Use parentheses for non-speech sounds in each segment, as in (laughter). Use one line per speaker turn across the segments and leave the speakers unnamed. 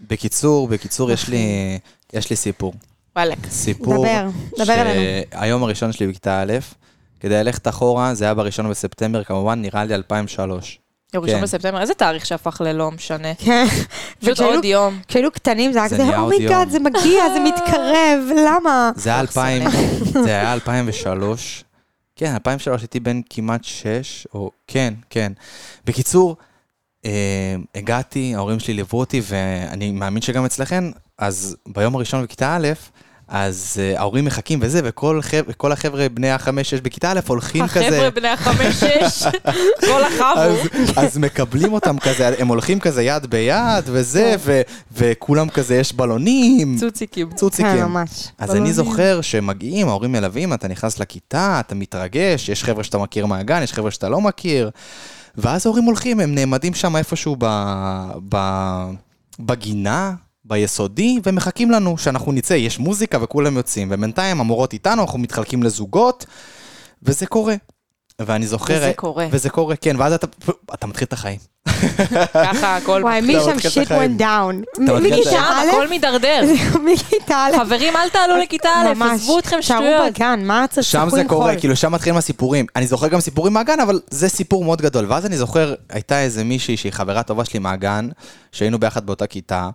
בקיצור, בקיצור, יש לי, יש לי סיפור.
וואלק.
כן. סיפור
דבר, דבר אלינו.
שהיום הראשון שלי בכיתה א', כדי ללכת אחורה, זה היה בראשון בספטמבר, כמובן, נראה לי 2003.
יום ראשון
כן.
בספטמבר, איזה תאריך שהפך ללא משנה.
כן.
פשוט
וכשהיינו-
עוד יום.
כשהיינו קטנים זה היה
זה
כזה,
נהיה עוד
אומייגאד,
יום."
זה מגיע, זה מתקרב, למה?
זה היה
אכסניה.
2000, (laughs) זה היה 2003. כן, 2003 הייתי בן כמעט 6, או כן, כן. בקיצור, אה, הגעתי, ההורים שלי ליוו אותי, ואני מאמין שגם אצלכם, אז ביום הראשון בכיתה א', אז אה, ההורים מחכים וזה, וכל חבר, כל החבר'ה בני החמש-שש בכיתה א' הולכים כזה.
החבר'ה בני
(laughs)
החמש-שש, כל
אז,
החבו.
אז מקבלים אותם כזה, הם הולכים כזה יד ביד וזה, ו, וכולם כזה, יש בלונים,
צוציקים.
כן,
צוציקים.
ממש.
אז אני זוכר שמגיעים, ההורים מלווים, אתה נכנס לכיתה, אתה מתרגש, יש חבר'ה שאתה מכיר מהגן, יש חבר'ה שאתה לא מכיר, ואז ההורים הולכים, הם נעמדים שם איפשהו ב, ב, בגינה. ביסודי, ומחכים לנו שאנחנו נצא, יש מוזיקה וכולם יוצאים, ובינתיים המורות איתנו, אנחנו מתחלקים לזוגות, וזה קורה. ואני זוכר...
וזה קורה.
וזה קורה, כן, ואז אתה, אתה מתחיל את החיים.
ככה הכל.
וואי,
אתה
משם
מתחיל את
שיט
החיים.
went down.
מתחיל את
מכיתה
שם
א',
הכל מידרדר.
(laughs) מכיתה א',
חברים, אל תעלו
אוקיי,
לכיתה א',
ממש.
עזבו אתכם
שערו
שטויות.
בגן, מה צריך
שם זה קורה, כאילו שם מתחילים הסיפורים. אני זוכר גם סיפורים מהגן, אבל זה סיפור מאוד גדול. ואז אני זוכר, הייתה איזה מישהי שהיא חברה טובה שלי מהגן, שהיינו ביחד באותה כיתה,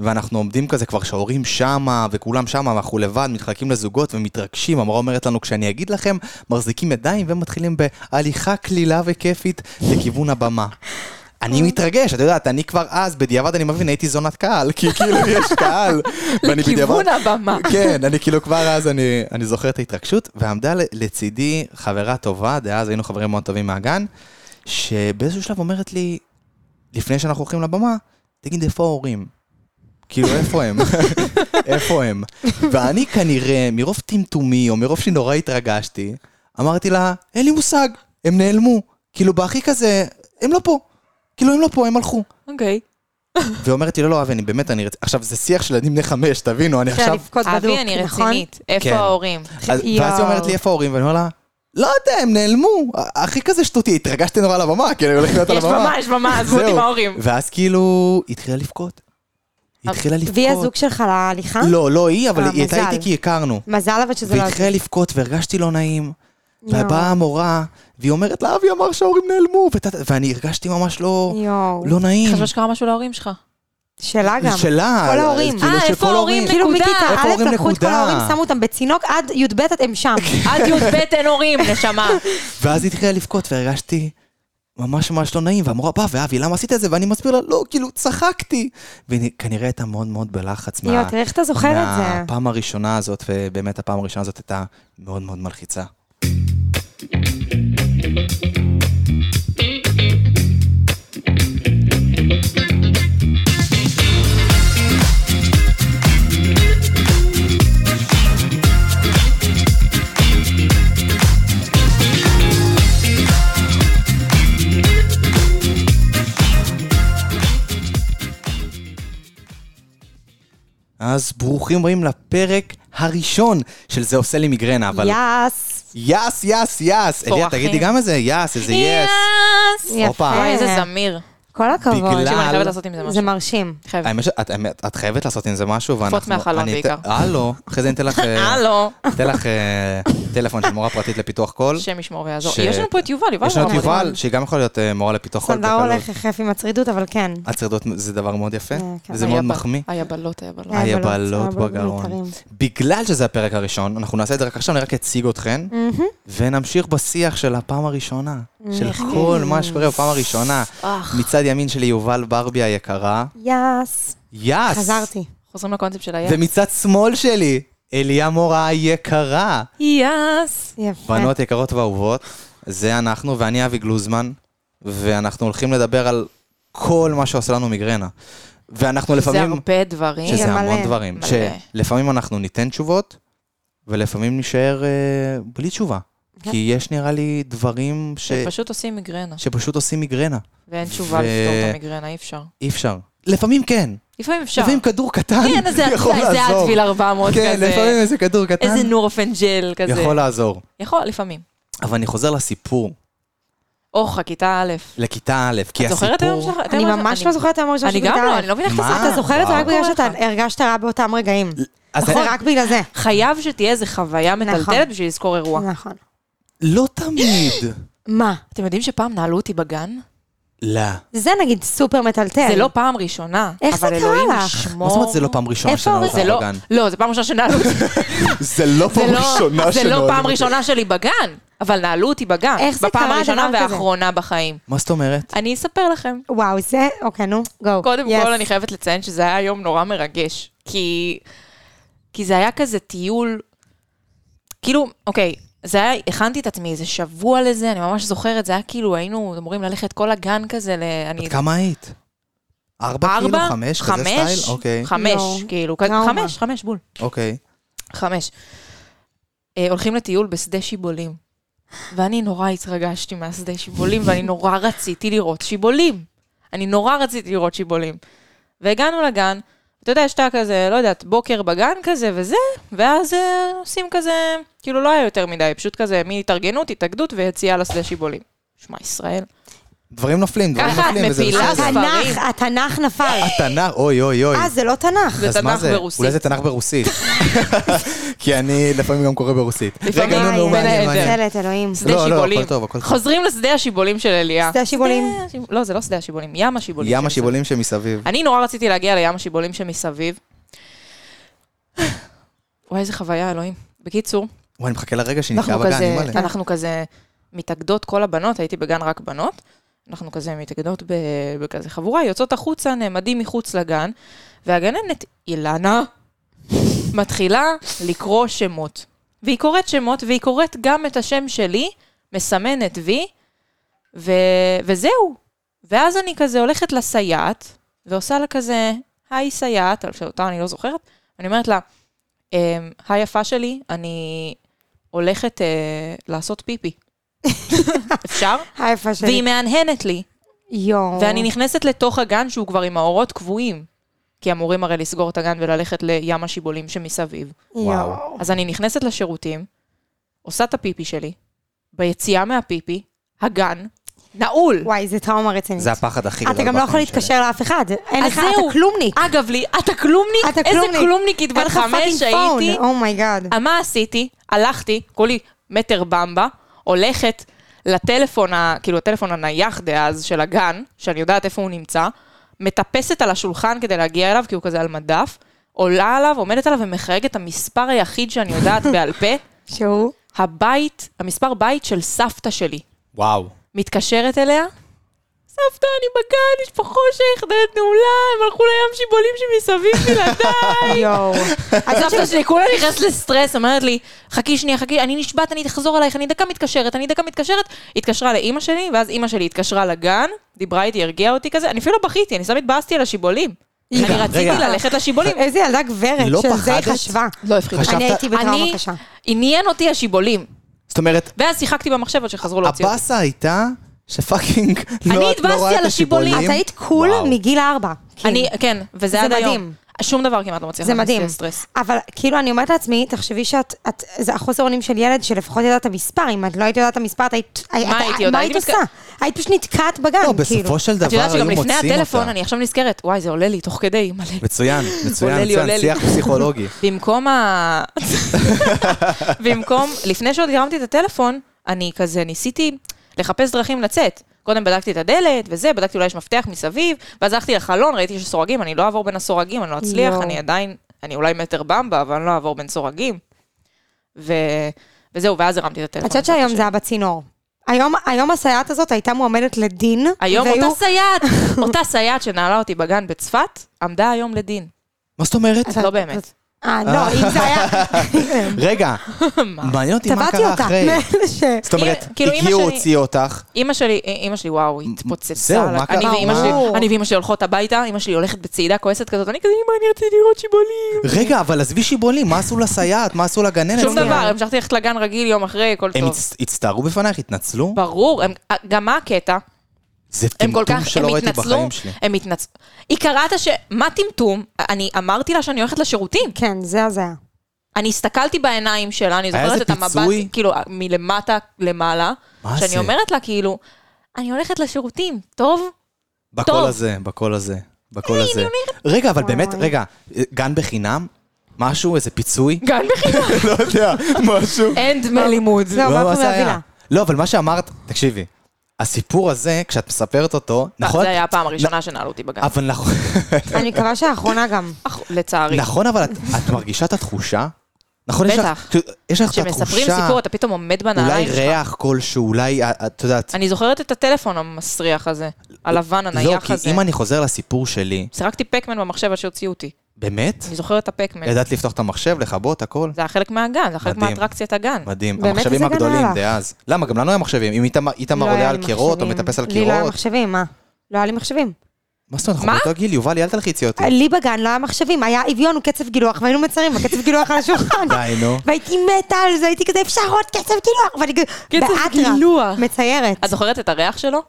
ואנחנו עומדים כזה כבר שההורים שמה, וכולם שמה, ואנחנו לבד, מתחלקים לזוגות ומתרגשים. המורה אומרת לנו, כשאני אגיד לכם, מחזיקים ידיים ומתחילים בהליכה קלילה וכיפית לכיוון הבמה. אני מתרגש, את יודעת, אני כבר אז, בדיעבד אני מבין, הייתי זונת קהל, כי כאילו יש
(laughs)
קהל. ואני
לכיוון
בדיעבד-
הבמה.
(laughs) כן, אני כאילו כבר אז, אני, אני זוכר את ההתרגשות, ועמדה ל- לצידי חברה טובה, דאז היינו חברים מאוד טובים מהגן, שבאיזשהו שלב אומרת לי, לפני שאנחנו הולכים לבמה, תגיד, איפה ההורים? כאילו, איפה הם? (laughs) איפה הם? ואני כנראה, מרוב טמטומי, או מרוב שנורא התרגשתי, אמרתי לה, אין לי מושג, הם נעלמו. כאילו, בהכי כזה, הם לא פה. כאילו, הם לא פה, הם הלכו.
אוקיי.
והיא אומרת לי, לא, לא, אבי, אני באמת, אני... רצ- עכשיו, זה שיח של ילדים בני חמש, תבינו, אני עכשיו...
אבי, אני
נכון?
רצינית. איפה
כן.
ההורים?
אז, ואז היא
יואו.
אומרת לי, איפה ההורים? ואני אומר לה, לא יודע, הם נעלמו. הכי כזה שטותי, התרגשתי נורא על הבמה, כאילו, הולכים להיות על
יש
הבמה.
במה, יש במה, עזבו אותי
זהו.
עם ההורים.
ואז כאילו, היא התחילה לבכות. היא התחילה לבכות.
אה, והיא הזוג שלך להליכה?
לא, לא היא, אבל
אה,
היא הייתה
מזל.
איתי כי הכרנו.
מזל אבל שזה לא...
והיא התחילה לבכות והרגשתי לא נעים.
יואו.
ובאה המורה, והיא אומרת לה, אבי אמר שההורים נעלמו, וטט- ואני הרגשתי ממש לא
יואו.
לא נעים.
חשבה שקרה משהו להורים שלך.
שלה גם.
שלה.
כל ההורים.
כאילו
אה,
של
איפה
כל
ההורים?
כאילו
נקודה.
מכיתה
איפה
א'
אומרים
לקחו את כל
נקודה? כן.
ההורים, שמו אותם בצינוק, עד י"ב הם שם.
עד י"ב אין הורים,
(laughs)
נשמה.
ואז היא התחילה לבכות והרגשתי ממש ממש לא נעים, והמורה באה, ואבי, למה עשית את זה? ואני מסביר לה, לא, כאילו, צחקתי. והיא כנראה הייתה מאוד מאוד בלחץ מה-
יואו, תראה איך אתה זוכר לא את זה.
מהפעם הראשונה הזאת, ובאמת הפעם הראשונה הזאת הייתה מאוד מאוד מלחיצה. אז ברוכים הבאים לפרק הראשון של זה עושה לי מיגרנה, אבל...
יאס.
יאס, יאס, יאס. אליה,
פורחים.
תגידי גם איזה יאס, איזה יס. כן.
יאס!
הופה.
וואי, איזה זמיר.
כל הכבוד.
בגלל-
תקשיבו, אני חייבת לעשות עם זה
זה
משהו.
מרשים.
חייבת.
האמת שאת האמת, את חייבת לעשות עם זה משהו, ואנחנו...
מהחלון
אני
בעיקר.
אתן- הלו, אחרי זה אני אתן לך... אה,
הלו.
אתן לך אה, טלפון של מורה פרטית לפיתוח קול.
השם ישמור ויעזור.
ש-
יש לנו פה את יובל, יובל.
יש לנו את
מאוד
יובל, שהיא גם יכולה להיות אה, מורה לפיתוח קול.
סנדר
בקלות.
הולך יחף עם הצרידות, אבל כן.
הצרדות זה דבר מאוד יפה,
אה, כן.
וזה
היה
מאוד
ב-
מחמיא. אה.
היה בלוט, היה בלוט.
היה בלוט,
היבלות
היה בלוט
בגרון.
מיותרים.
בגלל שזה הפרק הראשון, אנחנו נעשה את זה רק עכשיו, אני רק אציג אתכן, ונמשיך בשיח של הפעם הראשונה, של כל מה שקורה בפעם הראשונה.
אך.
מצד ימין שלי יובל ברבי היקרה,
יאס.
יאס!
חזרתי.
חוזרים לקונספט של היה.
ומצד שמאל שלי, אליה מורה היקרה.
יאס!
יפה.
כן.
בנות יקרות ואהובות, זה אנחנו, ואני אבי גלוזמן, ואנחנו הולכים לדבר על כל מה שעושה לנו מיגרנה. ואנחנו
זה
לפעמים...
הרבה דברים.
שזה
מלא,
המון דברים.
מלא.
שלפעמים אנחנו ניתן תשובות, ולפעמים נישאר אה, בלי תשובה. כי יש נראה לי דברים ש...
כן. פשוט עושים מיגרנה,
שפשוט עושים מיגרנה.
ואין תשובה
ו-
לפתור את המיגרנה, אי אפשר.
אי אפשר. לפעמים כן.
לפעמים אפשר.
לפעמים כדור קטן
כן, איזה
יכול
איזה
לעזור.
אדוויל 400
כן, לפעמים
כזה.
איזה כדור קטן
איזה נורפן ג'ל כזה.
יכול לעזור.
יכול, לפעמים.
אבל אני חוזר לסיפור
אורך, כיתה א'.
לכיתה א', כי
את
הסיפור...
זוכרת היום שלך? את
אני
היום הזה?
ממש לא זוכרת את היום הראשון
אני
שלי
גם לא, אני לא מבינה איך
מה?
זה
אתה זוכר את זה
אה, וואו.
רק בגלל שאתה
קורה
הרגשת רע באותם רגעים.
אז
זה רק בגלל זה.
חייב שתהיה איזה חוויה מטלטלת
נכון.
בשביל לזכור אירוע.
נכון.
לא תמיד.
מה?
אתם יודעים שפעם נעלו אותי בגן?
לא.
זה נגיד סופר מטלטל.
זה לא פעם ראשונה.
כן. איך זה
אבל
קרה
אלוהים
לך?
ישמור.
מה זאת אומרת זה לא פעם ראשונה
איפה
שנעלו
ההורים?
אותך
זה לא,
בגן?
לא, זה פעם ראשונה שנעלו אותי.
זה לא
זה לא- זה לא פעם ראשונה שלי בגן, אבל נעלו אותי בגן.
איך זה
בפעם
קרה,
הראשונה
דבר כזה?
והאחרונה בחיים.
מה זאת אומרת?
אני אספר לכם.
וואו, זה... אוקיי, נו, גו.
קודם
Yes.
כל, אני חייבת לציין שזה היה יום נורא מרגש. כי... כי זה היה כזה טיול... כאילו, אוקיי, זה היה, הכנתי את עצמי איזה שבוע לזה, אני ממש זוכרת, זה היה כאילו, היינו אמורים ללכת כל הגן כזה ל... אני...
בת כמה היית? ארבע
ארבע?
כאילו? חמש? כזה סטייל? אוקיי,
חמש,
לא.
כאילו, כזה-
טראומה.
חמש, חמש, בול.
אוקיי.
חמש. אה, הולכים לטיול בשדה שיבולים. ואני נורא התרגשתי מהשדה שיבולים, ואני נורא רציתי לראות שיבולים. אני נורא רציתי לראות שיבולים. והגענו לגן, אתה יודע, שאתה כזה, לא יודעת, בוקר בגן כזה וזה, ואז אה, עושים כזה, כאילו לא היה יותר מדי, פשוט כזה מין התארגנות, התאגדות ויציאה לשדה שיבולים. שמע, ישראל.
דברים נופלים, דברים
ככה את
נופלים, וזה
מפילה
בסדר.
ספרים.
התנ"ך, התנ"ך נפל.
התנ"ך, אוי אוי אה, אוי.
אה, זה לא תנ"ך.
זה
אז מה
תנ"ך ברוסית.
אולי זה תנ"ך
(laughs)
ברוסית. (laughs) כי אני לפעמים גם קורא ברוסית.
לפעמים,
רגע, נו, נו,
בין
מעניין,
היתר.
מעניין.
מצלת, אלוהים.
שדה
לא, לא, הכל
שיבולים.
טוב, הכל טוב.
חוזרים לשדה השיבולים של אליה.
שדה השיבולים.
שדה השיב- לא, זה לא שדה השיבולים, ים השיבולים.
ים
של
השיבולים שמסביב.
אני נורא רציתי להגיע לים השיבולים שמסביב. וואי, איזה חוויה, אלוהים. בקיצור,
וואי, אני מחכה לרגע שנקרא
אנחנו
בגן,
כזה,
אימא'לה.
אנחנו כזה מתאגדות כל הבנות, הייתי בגן רק בנות. אנחנו כזה מתאגדות ב- בכזה חבורה, יוצאות החוצה, נעמדים מחוץ לגן, והגננת, אילנה, מתחילה לקרוא שמות. והיא קוראת שמות, והיא קוראת גם את השם שלי, מסמנת וי, ו... וזהו. ואז אני כזה הולכת לסייעת, ועושה לה כזה, היי סייעת, אבל שאותה אני לא זוכרת, אני אומרת לה, "אמ, היי יפה שלי, אני הולכת אה, לעשות
(laughs)
פיפי. אפשר?
היפה שלי.
והיא מהנהנת לי,
יואו.
ואני נכנסת לתוך הגן שהוא כבר עם האורות קבועים, כי אמורים הרי לסגור את הגן וללכת לים השיבולים שמסביב.
וואו.
יואו.
אז אני נכנסת לשירותים, עושה את הפיפי שלי, ביציאה מהפיפי, הגן, נעול.
וואי, זה טראומה רצינית.
זה הפחד הכי גדול.
אתה גם לא יכול
בחיים שלי.
להתקשר לאף אחד. אין
אז
לך,
זהו.
אתה כלומניק.
אגב לי, אתה כלומניק?
אתה
איזה
כלומניק.
כלומניקית בת חמש הייתי?
אומייגאד.
אה, מה עשיתי? הלכתי, כולי מטר במבה, הולכת לטלפון, ה, כאילו הטלפון הנייח דאז של הגן, שאני יודעת איפה הוא נמצא, מטפסת על השולחן כדי להגיע אליו, כי הוא כזה על מדף, עולה עליו, עומדת עליו ומחייגת את המספר היחיד שאני יודעת בעל פה,
שהוא?
הבית, המספר בית של סבתא שלי.
וואו.
מתקשרת אליה, סבתא, אני בגן, יש פה חושך, דלת נעולה, הם הלכו לים שיבולים שמסביב בלעדיי. (laughs)
יואו.
אז סבתא שלי כולה נכנסת לסטרס, אומרת לי, חכי שנייה, חכי, אני נשבעת, אני אחזור אלייך, אני דקה מתקשרת, אני דקה מתקשרת. התקשרה לאימא שלי, ואז אימא שלי התקשרה לגן, דיברה איתי, הרגיעה אותי כזה, אני אפילו לא בכיתי, אני סתם התבאסתי על השיבולים. אני
רגע,
רציתי
רגע.
ללכת לשיבולים.
איזה ילדה גברת,
לא
של זה היא
פחדת?
חשבה.
לא הפחיד.
חשבת-
אני הייתי בטראומה
אני,
קשה.
עניין אותי השיבולים.
זאת אומרת,
ואז שיחקתי במחשב עד שחזרו להוציא לא אותי.
הבאסה הייתה שפאקינג לא
אני
את לא
התבאסתי
רואה
על
את
השיבולים.
השיבולים.
את היית קול
וואו.
מגיל ארבע. כאילו.
אני, כן, וזה
זה
עד היום.
מדהים.
שום דבר כמעט לא מצליח
זה
להכניס לי
מדהים.
לסטרס.
אבל כאילו, אני אומרת לעצמי, תחשבי שאת, את- זה החוסר אונים של ילד שלפחות ידעת מספר, אם את לא היית יודעת מספר, את היית... את-
הייתי יודעת?
מה
הייתי
היית
מתק-
עושה? היית פשוט נתקעת בגן,
לא,
כאילו.
בסופו של
את
דבר
יודעת
היו
שגם לפני
מוצאים
הטלפון,
אותה.
אני עכשיו נזכרת, וואי, זה עולה לי תוך כדי מלא. (laughs)
מצוין, מצוין,
עולה לי,
מצוין,
עולה לי.
שיח פסיכולוגי.
במקום ה... במקום, לפני שעוד הרמתי את הטלפון, אני כזה ניסיתי לחפש דרכים לצאת. קודם בדקתי את הדלת וזה, בדקתי אולי יש מפתח מסביב, ואז הלכתי לחלון, ראיתי שיש סורגים, אני לא אעבור בין הסורגים, אני לא אצליח,
יואו.
אני עדיין, אני אולי מטר במבה, אבל אני לא אעבור בין סורגים. ו... וזהו, ואז הרמתי את הטלפון.
את חושבת שהיום זה היה בצינור. היום, היום הסייעת הזאת הייתה מועמדת לדין.
היום
והיו-
אותה סייעת, אותה סייעת שנעלה אותי בגן בצפת, עמדה היום לדין.
מה זאת
(laughs)
אומרת?
אתה-
לא באמת.
אה, לא, אם זה היה...
רגע, מעניין אותי מה
טבעתי
קרה
אותה. (laughs)
אחרי.
מאלה ש...
זאת אומרת,
כאילו, אמא
הגיעו,
שלי-
הוציאו אותך.
אימא שלי, אה, אימא שלי, וואו, היא התפוצצה.
זהו,
עליי.
מה
אני
קרה?
ואימא
מה?
שלי- אני ואימא שלי הולכות הביתה, אימא שלי הולכת בצעידה כועסת כזאת, אני כזה, אימא, אני רציתי לראות שיבולים.
רגע, אבל עזבי שיבולים, מה עשו לסייעת? מה עשו לגננת?
שום
כן.
דבר, המשכתי ללכת לגן רגיל יום אחרי, הכל
הם
טוב.
הצ- הצטערו בפנייך, התנצלו?
ברור, הם- אה, גם מה הקטע?
זה
הם כל
טמטום
כך, הם
שלא ראיתי
התנצלו,
בחיים שלי.
הם התנצלו. היא קראת ש... מה טמטום? אני אמרתי לה שאני הולכת לשירותים.
כן, זה הזיה.
אני הסתכלתי בעיניים שלה, אני
היה
זוכרת
איזה
את המבט,
פיצוי?
כאילו, מלמטה למעלה,
מה
שאני
זה?
אומרת לה, כאילו, אני הולכת לשירותים, טוב?
בקול
טוב.
הזה, בקול הזה, בקול הזה. רגע, אבל באמת,
וואי.
רגע, גן בחינם? משהו, איזה פיצוי?
גן בחינם.
לא יודע, משהו.
אין דמי לימוד.
לא, מה קורה
זה היה?
בווילה?
לא, אבל מה שאמרת, תקשיבי, הסיפור הזה, כשאת מספרת אותו, (laughs) נכון?
אה, זה היה הפעם הראשונה שנעלו אותי בגן.
אבל נכון,
אני מקווה שהאחרונה גם.
אך, לצערי.
נכון, אבל את- את מרגישה את התחושה? נכון, יש לך-
בטח.
כאילו, יש לך את התחושה...
כשמספרים סיפור, אתה פתאום עומד
אולי
בנעליים שלך.
ריח כלשהו, אולי, אה, את יודעת...
אני זוכרת את הטלפון המסריח הזה, הלבן,
לא,
הנייח
כי
הזה.
אם אני חוזר לסיפור שלי,
שיחקתי פקמן במחשב עד שהוציאו אותי.
באמת?
אני זוכרת את הפקמן.
ידעת לפתוח את המחשב, לכבות, הכל?
זה היה חלק מהגן, זה היה חלק
מדהים.
מאטרקציית הגן.
מדהים.
באמת
המחשבים
איזה גן
הגדולים
הלך?
דאז. למה? גם לנו היה מחשבים. אם איתמר- איתמר
לא היה
עולה
לי
על קירות או
מחשבים.
מתאפס על
לי לא היה
קירות.
מחשבים, מה? לא היה לי מחשבים.
מה זאת אומרת? אנחנו
מה?
באותו גיל, יובל, אל תלחיצי אותי.
לי בגן לא היה מחשבים, היה אביון וקצב גילוח, והיינו מצרים בקצב גילוח על השולחן.
די, נו.
והייתי מתה על זה, הייתי כזה, אפשר עוד קצב גילוח, ואני כזה, באטרף,
גילוח.
מציירת.
את זוכרת את הריח שלו?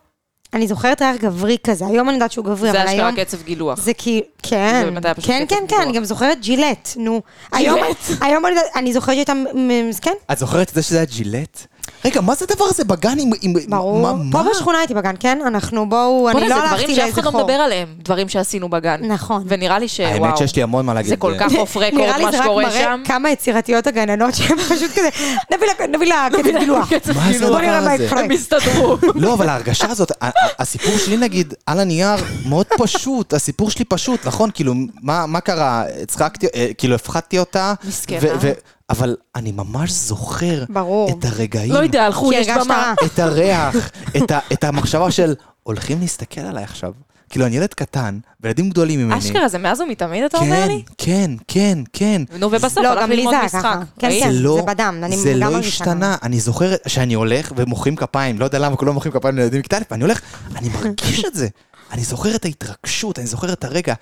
אני זוכרת ריח גברי כזה, היום אני יודעת שהוא גברי,
זה
אבל היום...
אשכרה קצב גילוח.
זה כי, כן,
זה באמת היה פשוט
כן,
קצב
כן, כן,
גילוח.
אני גם זוכרת ג'ילט, נו. היום- היום אני יודעת- אני זוכרת שהייתה, מ- מ- כן,
את זוכרת את זה שזה היה ג'ילט? רגע, מה זה הדבר הזה בגן עם... עם-
ברור.
מה-
פה
מה?
בשכונה הייתי בגן, כן? אנחנו, בואו, אני
בוא'נה,
לא
זה דברים
הלכתי
שאף
לאיזה
אחד לא
חור.
מדבר עליהם, דברים שעשינו בגן.
נכון.
ונראה לי שוואו.
האמת שיש לי המון מה להגיד.
זה כל כך אוף
נראה
רקורד
לי
מה
זה רק
שקורה
מראה
שם.
כמה יצירתיות הגננות שהן (laughs) פשוט כזה, נביא לה- נביא לה קצב גילוח.
(laughs) קצב
מה זה
גילוח.
בוא נראה
הדבר
מה
הזה?
יקרה.
הם הסתדרו.
לא, אבל ההרגשה הזאת, ה- ה- הסיפור שלי נגיד, על הנייר, מאוד פשוט, הסיפור שלי פשוט, נכון? כאילו, מה מה קרה? הצחקתי, אה, כאילו, הפחדתי אותה.
מסכנה.
ו- ו- אבל אני ממש זוכר
ברור.
את הרגעים.
לא יודע, הלכו,
כי
יש
הרגשת
במה.
רע.
את הריח, את, ה, את המחשבה של הולכים להסתכל עליי עכשיו. כאילו, אני ילד קטן, וילדים גדולים ממני.
אשכרה, זה מאז ומתמיד אתה אומר
כן,
לי?
כן, כן, כן.
נו, ובסוף
לא,
הלך
גם לי
ללמוד
זה היה
משחק.
ככה. כן,
ראית?
זה לא,
זה בדם, אני
זה
גם
לא
מרגישה
השתנה. אני זוכר שאני הולך ומוחאים כפיים, לא יודע למה כולם מוחאים כפיים לילדים בכיתה א', ואני הולך, אני מרגיש את זה. אני זוכר את ההתרגשות, אני זוכר את הרגע,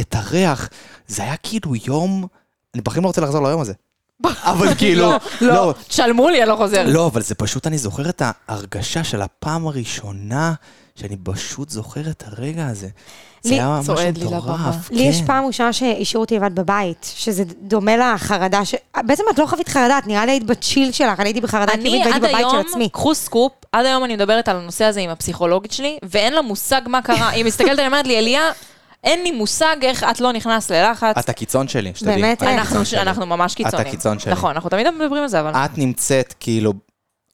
את הריח. זה היה כאילו יום... אני בחיים לא רוצה לחזור ליום הזה. אבל כאילו,
לא, לא, תשלמו לי, אני לא חוזר.
לא, אבל זה פשוט, אני זוכר את ההרגשה של הפעם הראשונה, שאני פשוט זוכר את הרגע הזה. זה
לי-
היה משהו
צועד לי
מטורף.
לי יש
כן.
פעם ראשונה שהשאירו אותי לבד בבית, שזה דומה לחרדה, ש... בעצם את לא חווית חרדה, את נראה לי היית בצ'יל שלך, אני הייתי
אני
בחרדה עקבית והייתי
עד
בבית של
היום,
עצמי.
קחו סקופ, עד היום אני מדברת על הנושא הזה עם הפסיכולוגית שלי, ואין לה מושג מה קרה. היא מסתכלת עליי, אומרת לי, אליה, אין לי מושג איך את לא נכנס ללחץ.
את הקיצון שלי, שתדעי.
באמת,
את
אה.
הקיצון
אנחנו-
שלי.
אנחנו ממש קיצוניים.
הקיצון שלי.
נכון, אנחנו תמיד מדברים על זה, אבל...
את נמצאת, כאילו,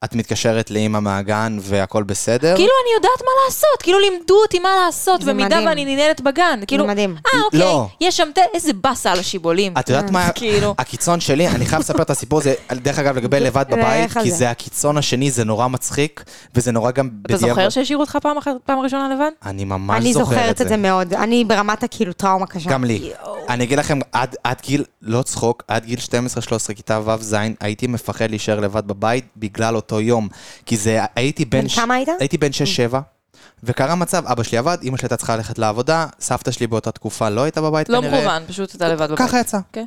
את מתקשרת לאימא מהגן והכל בסדר?
כאילו אני יודעת מה לעשות, כאילו לימדו אותי מה לעשות,
זה
במידה
מדהים.
ואני ננהלת בגן. כאילו,
מדהים.
אה,
לא.
אוקיי, יש שם תה, איזה באסה על השיבולים.
את יודעת מה,
כאילו.
הקיצון שלי, אני חייב לספר את הסיפור הזה, על- דרך אגב,
(laughs)
לגבי לבד בבית,
לך על
כי
זה.
זה הקיצון השני, זה נורא מצחיק, וזה נורא גם
אתה
בדיעבד.
זוכר שהשאירו אותך פעם אחת- פעם ראשונה לבד?
אני ממש
אני
זוכר את זה.
זוכרת את זה מאוד, אני ברמת הכאילו טראומה קשה.
גם לי. אני אגיד לכם, עד, עד גיל, לא צחוק, עד גיל 12-13, כיתה ו'-ז', הייתי מפחד להישאר לבד בבית בגלל אותו יום. כי זה, הייתי בן...
בן כמה היית? Mm.
הייתי בן 6-7. וקרה מצב, אבא שלי עבד, אימא שלי הייתה צריכה ללכת לעבודה, סבתא שלי באותה תקופה לא הייתה בבית
לא
כנראה.
מכוון, פשוט אתה לבד בבית.
ככה יצא.
כן.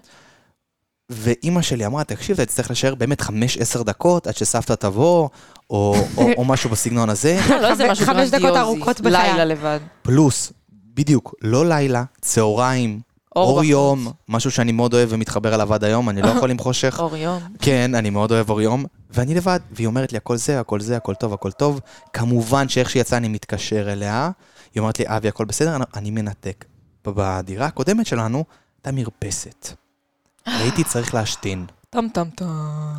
ואימא שלי אמרה, תקשיב, אתה תצטרך להישאר באמת 5-10 דקות עד שסבתא תבוא, או, או,
(laughs)
או משהו בסגנון הזה.
אה, לא איזה משהו
חמש דקות
גרנדיוזי,
ארוכות בחיי.
לילה לבד.
פלוס, בדיוק, לא לילה, צהריים,
אור
אור
בחוץ.
יום, משהו שאני מאוד אוהב ומתחבר אליו עד היום, אני
(laughs)
לא יכול עם חושך.
אור יום.
כן, אני מאוד אוהב אור יום, ואני לבד, והיא אומרת לי, הכל זה, הכל זה, הכל טוב, הכל טוב. כמובן שאיך שיצא אני מתקשר אליה, היא אומרת לי, אבי, הכל בסדר? אני- אני מנתק. בדירה הקודמת שלנו, הייתה
(gasps)
מרפסת. והייתי צריך להשתין.
טם טם טם.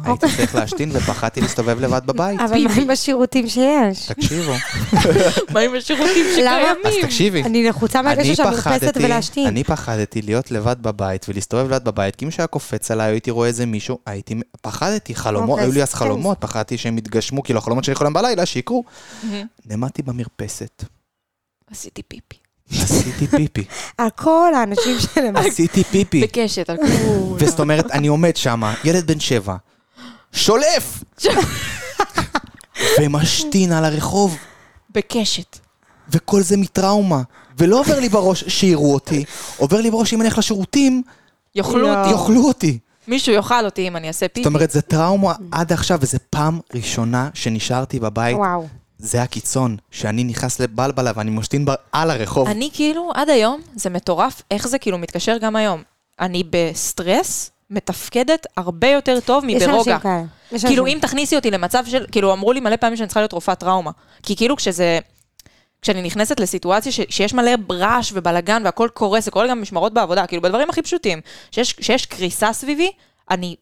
הייתי צריך להשתין ופחדתי להסתובב לבד בבית.
אבל מה עם השירותים שיש?
(laughs)
תקשיבו.
(laughs) מה עם השירותים
אז
שקיימים?
תקשיבי.
אני לחוצה מהקשר
אוקיי. אני
של המרפסת
פחדתי,
ולהשתין.
אני פחדתי להיות לבד בבית ולהסתובב לבד בבית, כי אם שהיה קופץ עליי, הייתי רואה איזה מישהו, הייתי, פחדתי, חלומות,
אוקיי,
היו לי אז
אז-
חלומות, פחדתי שהם יתגשמו, כאילו החלומות שלי חולם בלילה, שיקרו.
מהמם.
נעמדתי במרפסת,
עשיתי פיפי.
עשיתי פיפי,
על כל
(laughs)
האנשים שלהם.
עשיתי פיפי,
בקשת,
(laughs)
על כולם.
וזאת אומרת, אני עומד שם, ילד בן שבע, שולף! (laughs) ומשתין על הרחוב,
בקשת.
וכל זה מטראומה. ולא עובר לי בראש שיראו אותי, עובר לי בראש שאם אני הולך לשירותים,
יאכלו
לא.
אותי.
יאכלו אותי.
מישהו יאכל אותי אם אני אעשה פיפי.
זאת אומרת, זה טראומה עד עכשיו, וזו פעם ראשונה שנשארתי בבית.
וואו.
זה הקיצון, שאני נכנס לבלבלה ואני משתין ב- על הרחוב.
אני כאילו, עד היום, זה מטורף, איך זה כאילו מתקשר גם היום. אני בסטרס, מתפקדת הרבה יותר טוב
יש
מברוגע.
אנשים כאלה. יש
כאילו,
אנשים.
אם תכניסי אותי למצב של, כאילו, אמרו לי מלא פעמים שאני צריכה להיות רופאת טראומה. כי כאילו, כשזה כשאני נכנסת לסיטואציה ש, שיש מלא רעש ובלאגן והכל קורס, זה קורה גם במשמרות בעבודה, כאילו בדברים הכי פשוטים. שיש, שיש קריסה סביבי, אני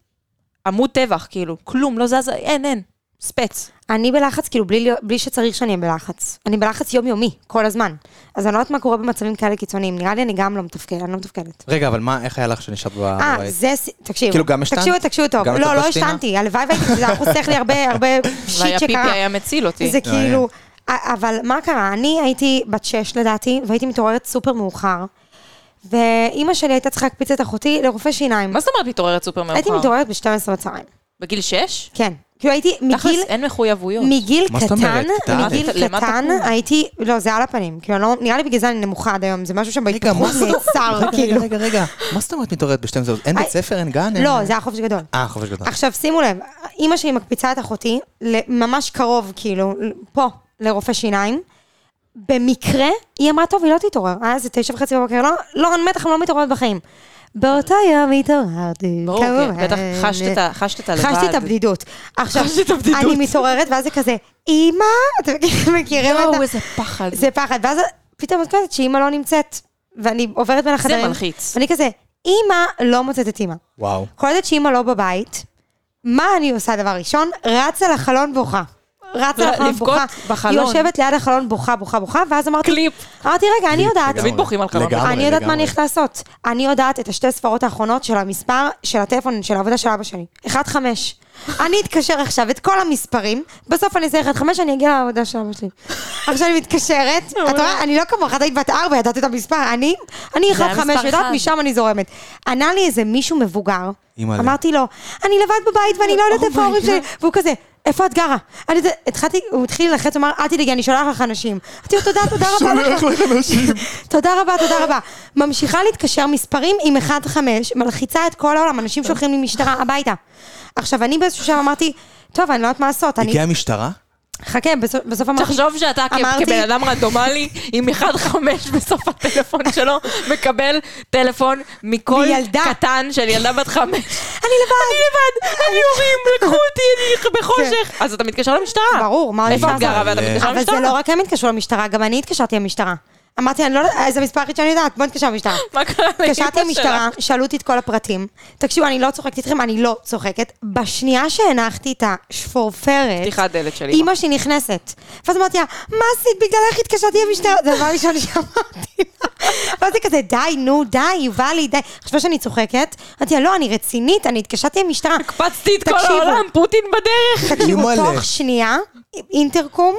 עמוד טבח, כאילו, כלום, לא זזה, אין, אין, ספץ.
אני בלחץ, כאילו, בלי, להיות- בלי שצריך שאני אהיה בלחץ. אני בלחץ יומיומי, כל הזמן. אז אני לא יודעת מה קורה במצבים כאלה קיצוניים. נראה לי אני גם לא מתפקדת, אני לא מתפקדת.
רגע, אבל מה, איך היה לך שנשארת ב...
אה,
בבית?
זה... ס- תקשיבו.
כאילו, גם השתנת?
תקשיבו, תקשיבו טוב.
גם את
לא, לא
הפלסטינה?
השתנתי. הלוואי והייתי, זה היה חוסך לי הרבה, הרבה
(laughs) והיה
שיט
פיפי
שקרה.
היה מציל אותי.
זה
מעניין.
כאילו... א- אבל מה קרה? אני הייתי בת שש לדעתי, והייתי מתעוררת סופר מאוחר, ואימא שלי הייתה צריכה להקפיץ את אחותי לרופא שיניים.
מה זאת אומרת מתעוררת סופר מאוחר?
הייתי מתעוררת ב-12 בצהריים.
בגיל 6?
כן. כאילו הייתי
תכלס,
מגיל...
אין מחויבויות.
מגיל
מה זאת
קטן,
אומרת? כיתה א'?
מגיל
למה
קטן
תקום?
הייתי, לא, זה על הפנים. כאילו, אני לא- נראה לי בגלל זה אני נמוכה עד היום, זה משהו
רגע,
שבהתפתחות
מה זאת
נעצר,
רגע, רגע,
כאילו.
רגע, רגע, מה זאת אומרת מתעוררת ב-12? אין בית
אה,
ספר, אין גן? אין-
לא, זה היה חופש גדול.
אה, חופש גדול.
עכשיו, שימו לב, אימא שלי מקפיצה את אחותי, ל- ממש קרוב, כאילו, פה, לרופא שיניים. במקרה, היא אמרה, טוב, היא לא תתעורר. היה איזה תשע וחצי בבוקר, לא, לא, אני בטח לא מתעוררת בחיים. באותו יום התעוררתי.
ברור, כן,
כמובן.
בטח חשת את ה- חשת את הלבד.
חשתי אה, את הבדידות. עכשיו,
חשתי את הבדידות.
אני מתעוררת, ואז זה כזה, אימא, אתם כאילו מכירים את ה...
יואו, איזה פחד.
זה פחד, ואז פתאום את קולטת שאימא לא נמצאת, ואני עוברת בין החדרים.
מלחיץ.
ואני כזה, אימא לא מוצאת את אימא.
וואו.
קולטת שאימא לא בבית, מה אני עושה דבר ראשון? רצה לחלון בוכה. רצה
ל-
לחלון
לבכות
בוכה.
בחלון.
היא יושבת ליד החלון בוכה, בוכה, בוכה, ואז אמרתי,
קליפ.
אמרתי, רגע, אני יודעת.
לגמרי.
תמיד בוכים על חלון.
לגמרי,
אני יודעת מה
לגמרי.
אני הולכת לעשות. אני יודעת את השתי ספרות האחרונות של המספר של הטלפון של העבודה של אבא שלי. 1-5. אני אתקשר עכשיו את כל המספרים, בסוף אני אעשה 1-5, אני אגיע לעבודה של אבא שלי. עכשיו אני
(laughs)
מתקשרת, את רואה, אני לא כמוך, את היית בת 4, ידעת את המספר, אני, אני
זה היה
1-5,
מספר
יודעת,
חד.
משם אני זורמת. ענה לי איזה מישהו מבוגר,
אימא'לה.
אמרתי לו, אני לבד בבית ואני לא
Oh
יודעת איפה ההורים שלי, והוא כזה... איפה את גרה? אני זה- התחלתי, הוא התחיל ללחץ, הוא אמר, אל תדאגי, אני שולח לך אנשים. אמרתי לו, תודה, תודה רבה לא לך.
(laughs)
תודה רבה, תודה רבה. ממשיכה להתקשר מספרים עם 1-5, מלחיצה את כל העולם, אנשים שולחים לי משטרה הביתה. עכשיו, אני באיזשהו שם אמרתי, טוב, אני לא יודעת מה לעשות, אני...
הגיעה המשטרה?
חכה, בסוף- בסוף אמרתי...
תחשוב שאתה כ-
אמרתי-
כבן אדם רנדומלי, עם 1-5 בסוף הטלפון שלו, מקבל טלפון מכל
מילדה.
קטן של ילדה בת 5.
(laughs) אני לבד!
אני לבד, אני הורים, לקחו אותי, אני (laughs) בחושך. אז אתה מתקשר למשטרה.
כן. ברור, מה אני
איפה את
עושה?
גרה ואתה
אבל-
מתקשר
אבל זה לא
למשטרה?
רק הם התקשרו למשטרה, גם אני התקשרתי למשטרה. אמרתי, אני לא יודעת, אה, זה מספר היחיד שאני יודעת, בוא נתקשר למשטרה.
מה קרה (laughs) לאמא
התקשרתי למשטרה, שאלו אותי את כל הפרטים. תקשיבו, אני לא צוחקת איתכם, אני לא צוחקת. בשנייה שהנחתי את השפורפרת...
פתיחת דלת של אמא.
אימא שלי נכנסת. ואז אמרתי לה, מה עשית? בגללך התקשרתי למשטרה. זה הדבר הראשון שאמרתי לה. (laughs) ואז היא כזה, די, נו, די, יובלי, די. חשבה שאני צוחקת. אמרתי לה, לא, אני רצינית, אני
(laughs)
התקשרתי למשטרה.
הקפצתי את כל
תקשיבו.
העולם, פוטין
(laughs)
בדרך.
תקשיבו,
אימא'לה.
תוך שנייה, אינטרקום,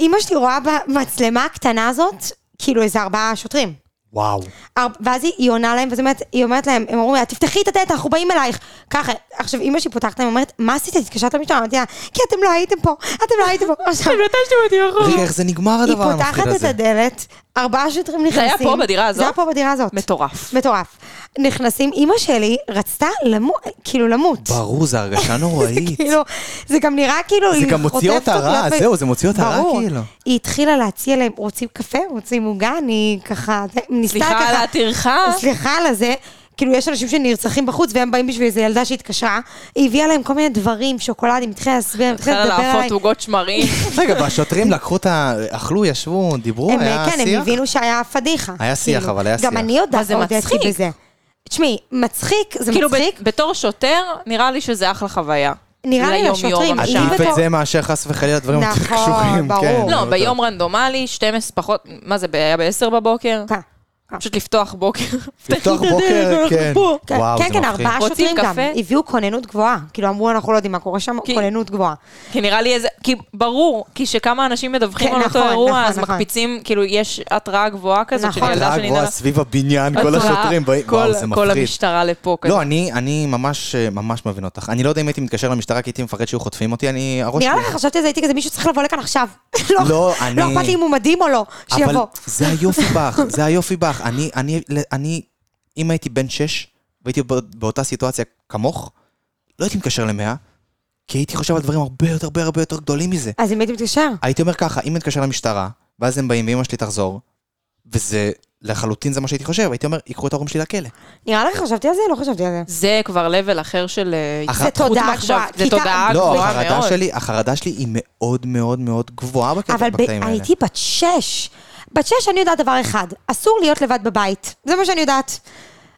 אימא שלי רואה במצלמה הקטנה הזאת, כאילו איזה ארבעה שוטרים.
וואו.
ארבע- ואז היא, היא עונה להם, ואז היא אומרת, היא אומרת להם, הם אומרים לה, תפתחי את הדלת, אנחנו באים אלייך. ככה, עכשיו אימא שלי פותחת להם, אומרת, מה עשית? התקשרת למשטרה, אמרתי לה, כי אתם לא הייתם פה, אתם לא
(laughs)
הייתם פה. עכשיו,
הם נטשתם אותי
רגע,
אחורה.
איך זה נגמר
היא
הדבר המפחיד
פותחת את
הזה?
הדלת, ארבעה שוטרים נכנסים.
היה פה, בדירה הזאת?
זה היה פה בדירה הזאת.
מטורף.
מטורף. נכנסים, אימא שלי רצתה למות, כאילו למות.
ברור, זו הרגשה
(laughs)
נוראית.
כאילו, זה גם נראה כאילו...
זה
היא
גם מוציא
חוטפת
אותה רע,
כלפי-
זהו, זה מוציא אותה רע,
ברור.
כאילו.
היא התחילה להציע להם, רוצים קפה, רוצים עוגה, אני ככה, זה- ניסתה ככה...
סליחה על הטרחה.
סליחה על הזה. כאילו, יש אנשים שנרצחים בחוץ, והם באים בשביל איזו ילדה שהתקשרה. היא הביאה להם כל מיני דברים, שוקולדים, התחילה להסביר, התחילה
התחילה
לדבר
להפות
עליי.
עוגות שמרים.
רגע, והשוטרים לקחו את ה... אכלו, ישבו, דיברו,
הם,
היה
כן, הם
שיח?
הבינו שהיה פדיחה. כאילו,
היה שיח, אבל היה
גם
שיח.
אני יודעת,
אבל זה
הודיתי
מצחיק.
בזה. תשמעי, מצחיק, זה
כאילו,
מצחיק.
ב- בתור שוטר, ננראה לי שזה אחלה חוויה.
נראה לי
ליום-יום,
לשוטרים,
עדיף
השעה.
אם בתור-
את זה מאשר חס וחלילה דברים יותר
נכון,
קשורים,
ברור.
כן.
לא,
לא,
יותר.
ביום רנדומלי, 12 פחות, מה זה, היה ב-10 בבוקר?
כן,
פשוט לפתוח בוקר. (laughs)
לפתוח
פתחי את
בוקר,
הדלת,
(laughs)
אנחנו
כן.
פה.
כן,
וואו,
כן,
זה
כן,
מפחיד.
ארבעה
רוצים
שוטרים גם.
קפה?
הביאו כוננות גבוהה. כאילו, אמרו, אנחנו לא יודעים מה קורה שם,
כי-
כוננות גבוהה.
כי נראה לי איזה, כי ברור, כי שכמה אנשים מדווחים
כן,
על אותו
נכון,
אירוע,
נכון,
אז
נכון.
מקפיצים, כאילו, יש התראה גבוהה כזאת של
נכון.
ילדה
התראה
שנראה...
גבוהה סביב הבניין, כל השוטרים באים, וואו, זה
כל
מפחיד.
המשטרה לפה כזה.
לא, אני, אני ממש, אה, ממש מבין אותך. אני לא יודע אם הייתי מתקשר למשטרה, כי הייתי מפחד שיהיו חוטפים אותי, אני, הראש
נראה
שלי.
לך, חשבתי על זה, הייתי כזה, מישהו צריך לבוא לכאן עכשיו. (laughs) לא,
לא, אני-
לא אכפת לי אם הוא מדהים או לא,
אבל
שיבוא.
זה
(laughs)
היופי בך, זה היופי בך. אני, אני, אני, אם הייתי בן שש, והייתי בא- באותה סיטואציה כמוך, לא הייתי מתקשר למאה, כי הייתי חושב על דברים הרבה יותר, הרבה הרבה יותר גדולים מזה.
אז עם מי אתה מתקשר?
הייתי אומר ככה, אם נתקשר למשטרה, ואז הם באים ואימא שלי תחזור, וזה לחלוטין זה מה שהייתי חושב, הייתי אומר, ייקחו את ההורים שלי לכלא.
נראה לך חשבתי על זה? לא חשבתי על זה.
זה כבר level אחר של אה,
אחת-
זה
התפתחות
תודעה
מחשב.
גבוהה.
זה
כיתה-
תודעה
לא,
אה, גבוהה
החרדה
מאוד.
שלי, החרדה שלי היא מאוד מאוד מאוד גבוהה בקטע-
אבל ב-
בקטעים האלה.
הייתי בת שש. בת שש אני יודעת דבר אחד, אסור להיות לבד בבית. זה מה שאני יודעת.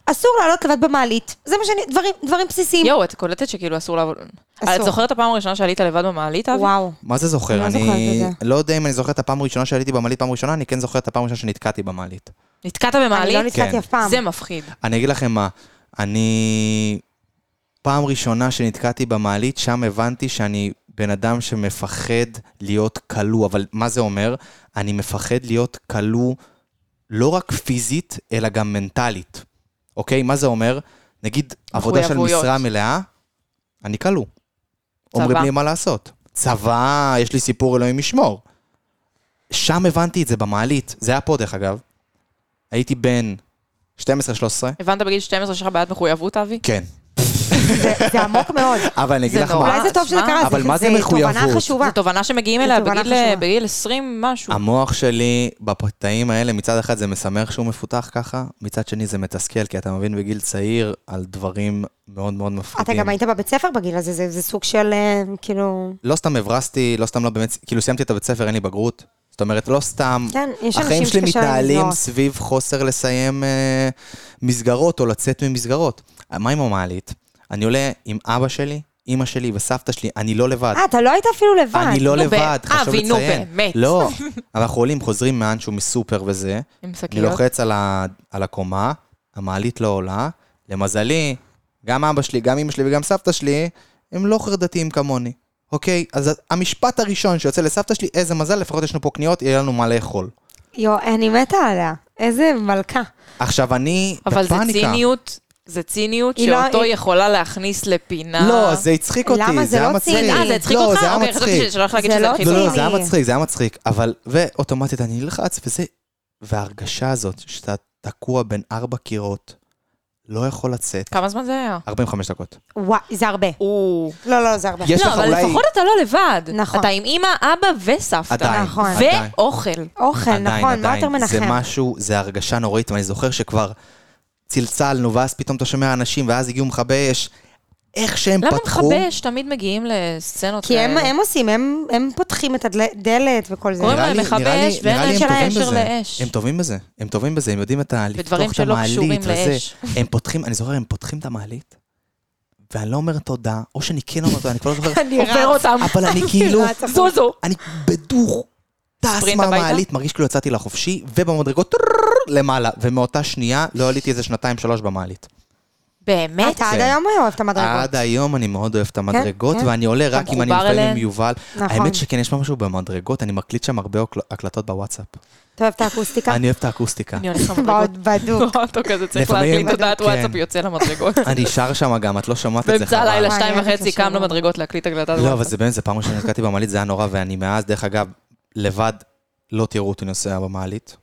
אסור לעלות לבד במעלית. זה מה שאני... דברים- דברים בסיסיים.
יואו, את קולטת שכאילו אסור לעבוד.
אסור.
את זוכרת את הפעם הראשונה שעלית לבד במעלית, אבי?
וואו.
מה זה זוכר?
לא זוכרת את
אני
זה.
לא יודע אם אני זוכר את הפעם הראשונה שעליתי במעלית פעם ראשונה, אני כן זוכר את הפעם הראשונה שנתקעתי במעלית.
נתקעת
אני לא
במעלית?
כן.
נתקעתי אף פעם.
זה מפחיד.
אני אגיד לכם מה, אני... פעם ראשונה שנתקעתי במעלית, שם הבנתי שאני בן אדם שמפחד להיות כלוא. אבל מה זה אומר? אני מפחד להיות כלוא לא רק פיזית, אלא גם מנטלית. אוקיי? מה זה אומר? נגיד, עבודה של
מחויבויות.
משרה מלאה, אני כלוא. אומרים לי מה לעשות. צבא, יש לי סיפור אלוהים ישמור. שם הבנתי את זה במעלית. זה היה פה, דרך אגב. הייתי בן 12-13.
הבנת בגיל 12 שלך בעיית מחויבות, אבי?
כן.
זה- זה עמוק מאוד.
אבל אני אגיד
זה
לך
נורא.
מה,
אולי זה טוב שזה
מה?
קרה,
אבל מה זה מחויבות?
תובנה חשובה.
זו תובנה שמגיעים
זו
אליה
תובנה
בגיל-
חשובה.
בגיל 20 משהו.
המוח שלי בקטעים האלה, מצד אחד זה משמח שהוא מפותח ככה, מצד שני זה מתסכל, כי אתה מבין בגיל צעיר על דברים מאוד מאוד
אתה
מפחידים.
גם היית בבית ספר בגיל הזה, זה- זה סוג של אה, כאילו...
לא סתם הברזתי, לא סתם לא באמת, כאילו סיימתי את הבית ספר, אין לי בגרות. זאת אומרת, לא סתם,
כן, יש
החיים
אנשים
שלי
שקשה להם
מתנהלים
לזהות.
סביב חוסר לסיים אה, מסגרות או לצאת ממסגרות. מה עם המעלית? אני עולה עם אבא שלי, אימא שלי וסבתא שלי, אני לא לבד.
אה, אתה לא היית אפילו לבד.
אני לא
נו,
לבד,
ב-
חשוב
אבי, נו,
לציין.
באמת. (laughs)
לא, אנחנו עולים, חוזרים מאנשהו מסופר וזה,
עם
אני לא
שקיות.
לוחץ על ה- על הקומה, המעלית לא עולה, למזלי, גם אבא שלי, גם אמא שלי וגם סבתא שלי, הם לא חרדתיים כמוני. אוקיי, אז המשפט הראשון שיוצא לסבתא שלי, איזה מזל, לפחות יש לנו פה קניות, יהיה לנו מה לאכול.
יואו, אני מתה עליה. איזה מלכה.
עכשיו, אני
אבל זה
בפאניקה.
ציניות, זה ציניות
היא לא-
שאותו
היא-
יכולה להכניס לפינה.
לא, זה הצחיק אותי,
למה? זה
זה היה
לא
מצחיק.
ציני.
אה, זה הצחיק
לא,
אותך?
זה היה
אוקיי,
מצחיק.
חשבתי שאני הולכת להגיד
זה
שזה
לא
הכי
לא,
טוב.
לא,
ציני.
זה היה מצחיק, זה היה מצחיק, אבל, ואוטומטית אני נלחץ וזה, וההרגשה הזאת שאתה תקוע בין ארבע קירות, לא יכול לצאת,
כמה זמן זה היה?
45 דקות.
וואי, זה הרבה.
או.
לא, לא, זה הרבה.
יש
לא,
לך
אבל
אולי-
לפחות אתה לא לבד.
נכון.
אתה עם אימא, אבא וסבתא.
עדיין,
נכון.
עדיין,
ואוכל.
אוכל,
עדיין,
נכון, מה
עדיין.
יותר מנחם?
זה משהו, זה הרגשה נוראית, ואני זוכר שכבר צלצלנו, ואז פתאום אתה שומע אנשים, ואז הגיעו מכבי אש. איך שהם
למה
פתחו,
מכבי אש תמיד מגיעים לסצנות
כי הם,
כן.
כאלה?
הם עושים, הם, הם פותחים את הדלת וכל זה.
קוראים
נראה
להם
לי-
מכבי
נראה לי-
אש, ואין
נראה
להם
לי הם
שום
טובים
קשר
בזה.
לאש.
הם טובים בזה, הם טובים בזה, הם יודעים את ה...
בדברים
לפתוח את
שלא קשורים
המעלית וזה.
לאש.
הם פותחים, אני זוכר, הם פותחים את המעלית, ואני לא אומר תודה, או שאני כן אומר תודה, אני כבר לא
(laughs)
זוכר,
אני
עובר אותם.
אבל אני
(laughs)
כאילו,
רץ.
זוזו.
אני בדוך, טס
ספרינט
מהמעלית, מרגיש כאילו יצאתי לחופשי, ובמדרגות טרררר, למעלה, ומאותה שנייה לא עליתי איזה שנתיים, שלוש במעלית.
באמת?
אתה עד
כן.
היום אוהב את המדרגות.
עד היום אני מאוד אוהב את המדרגות,
כן.
ואני עולה רק אם אני
מחובר
לפעמים עם
אליהן?
יובל.
נכון.
האמת שכן, יש משהו במדרגות, אני מקליט שם הרבה הקל- הקלטות בוואטסאפ.
אתה אוהב את האקוסטיקה?
אני אוהב את האקוסטיקה.
כן. אני הולך למדרגות. (laughs)
מאוד בדוק.
אותו כזה צריך
לפעמים-
להקליט הודעת
כן.
וואטסאפ יוצא למדרגות.
אני שר שם גם, את לא שמעת את זה,
באמצע
חבל.
הלילה
וואי,
שתיים
אני אוהבת
וחצי קם
לשמוע.
למדרגות להקליט הקלטה.
לא, אבל זה באמת, זה פעם ראשונה שנתקעתי במעלית, זה היה נורא, ואני מאז, דרך אגב, לבד לא תראו אותי נוסע במעלית.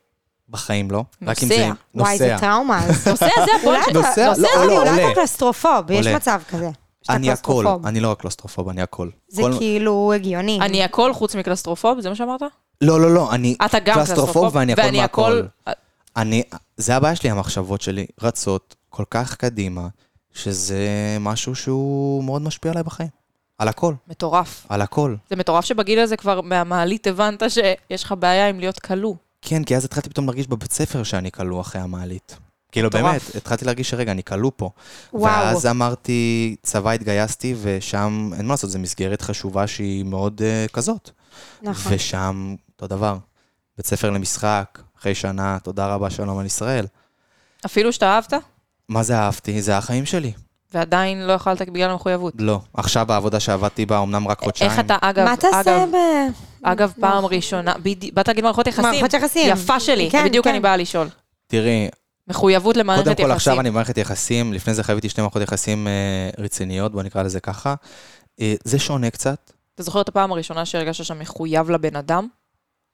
בחיים לא. רק אם זה...
נוסע.
וואי, זה טראומה.
(laughs)
אז.
נוסע זה הפועל
אולי
ש...
נוסע?
אתה-
לא, לא,
אולי
עולה.
אתה קלסטרופוב, יש
עולה.
מצב כזה. שאתה
אני הכל,
קלסטרופוב.
אני לא רק קלוסטרופוב, אני הכל.
זה
כל-
כאילו הגיוני.
אני הכל חוץ מקלסטרופוב, זה מה שאמרת?
לא, לא, לא, אני
אתה גם
קלסטרופוב
קלסטרופוב,
ואני הכל
ואני
מהכל.
הכל...
אני, זה הבעיה שלי, המחשבות שלי רצות כל כך קדימה, שזה משהו שהוא מאוד משפיע עליי בחיים. על הכל,
מטורף.
על הכל.
זה מטורף שבגיל הזה כבר מהמעלית הבנת שיש לך בעיה עם להיות כלוא.
כן, כי אז התחלתי פתאום להרגיש בבית ספר שאני כלוא אחרי המעלית. כאילו,
מטורף.
באמת, התחלתי להרגיש שרגע, אני כלוא פה.
וואו.
ואז אמרתי, צבא התגייסתי, ושם, אין מה לעשות, זו מסגרת חשובה שהיא מאוד uh, כזאת.
נכון.
ושם, אותו דבר. בית ספר למשחק, אחרי שנה, תודה רבה, שלום על ישראל.
אפילו שאתה אהבת,
מה זה אהבתי? זה החיים שלי.
ועדיין לא יכולת בגלל המחויבות.
לא. עכשיו העבודה שעבדתי בה, אמנם רק חודשיים.
איך אתה, אגב,
מה תעשה
אגב,
ב...
אגב, פעם ראשונה, בדי- באת להגיד מערכות יחסים.
מערכות יחסים.
יפה שלי,
כן,
בדיוק
כן.
אני באה לשאול.
תראי,
מחויבות למערכת
קודם
יחסים.
כל עכשיו אני במערכת יחסים, לפני זה חייבתי שתי מערכות יחסים אה, רציניות, בוא נקרא לזה ככה. אה, זה שונה קצת.
אתה זוכר את הפעם הראשונה שהרגשת שאתה מחויב לבן אדם?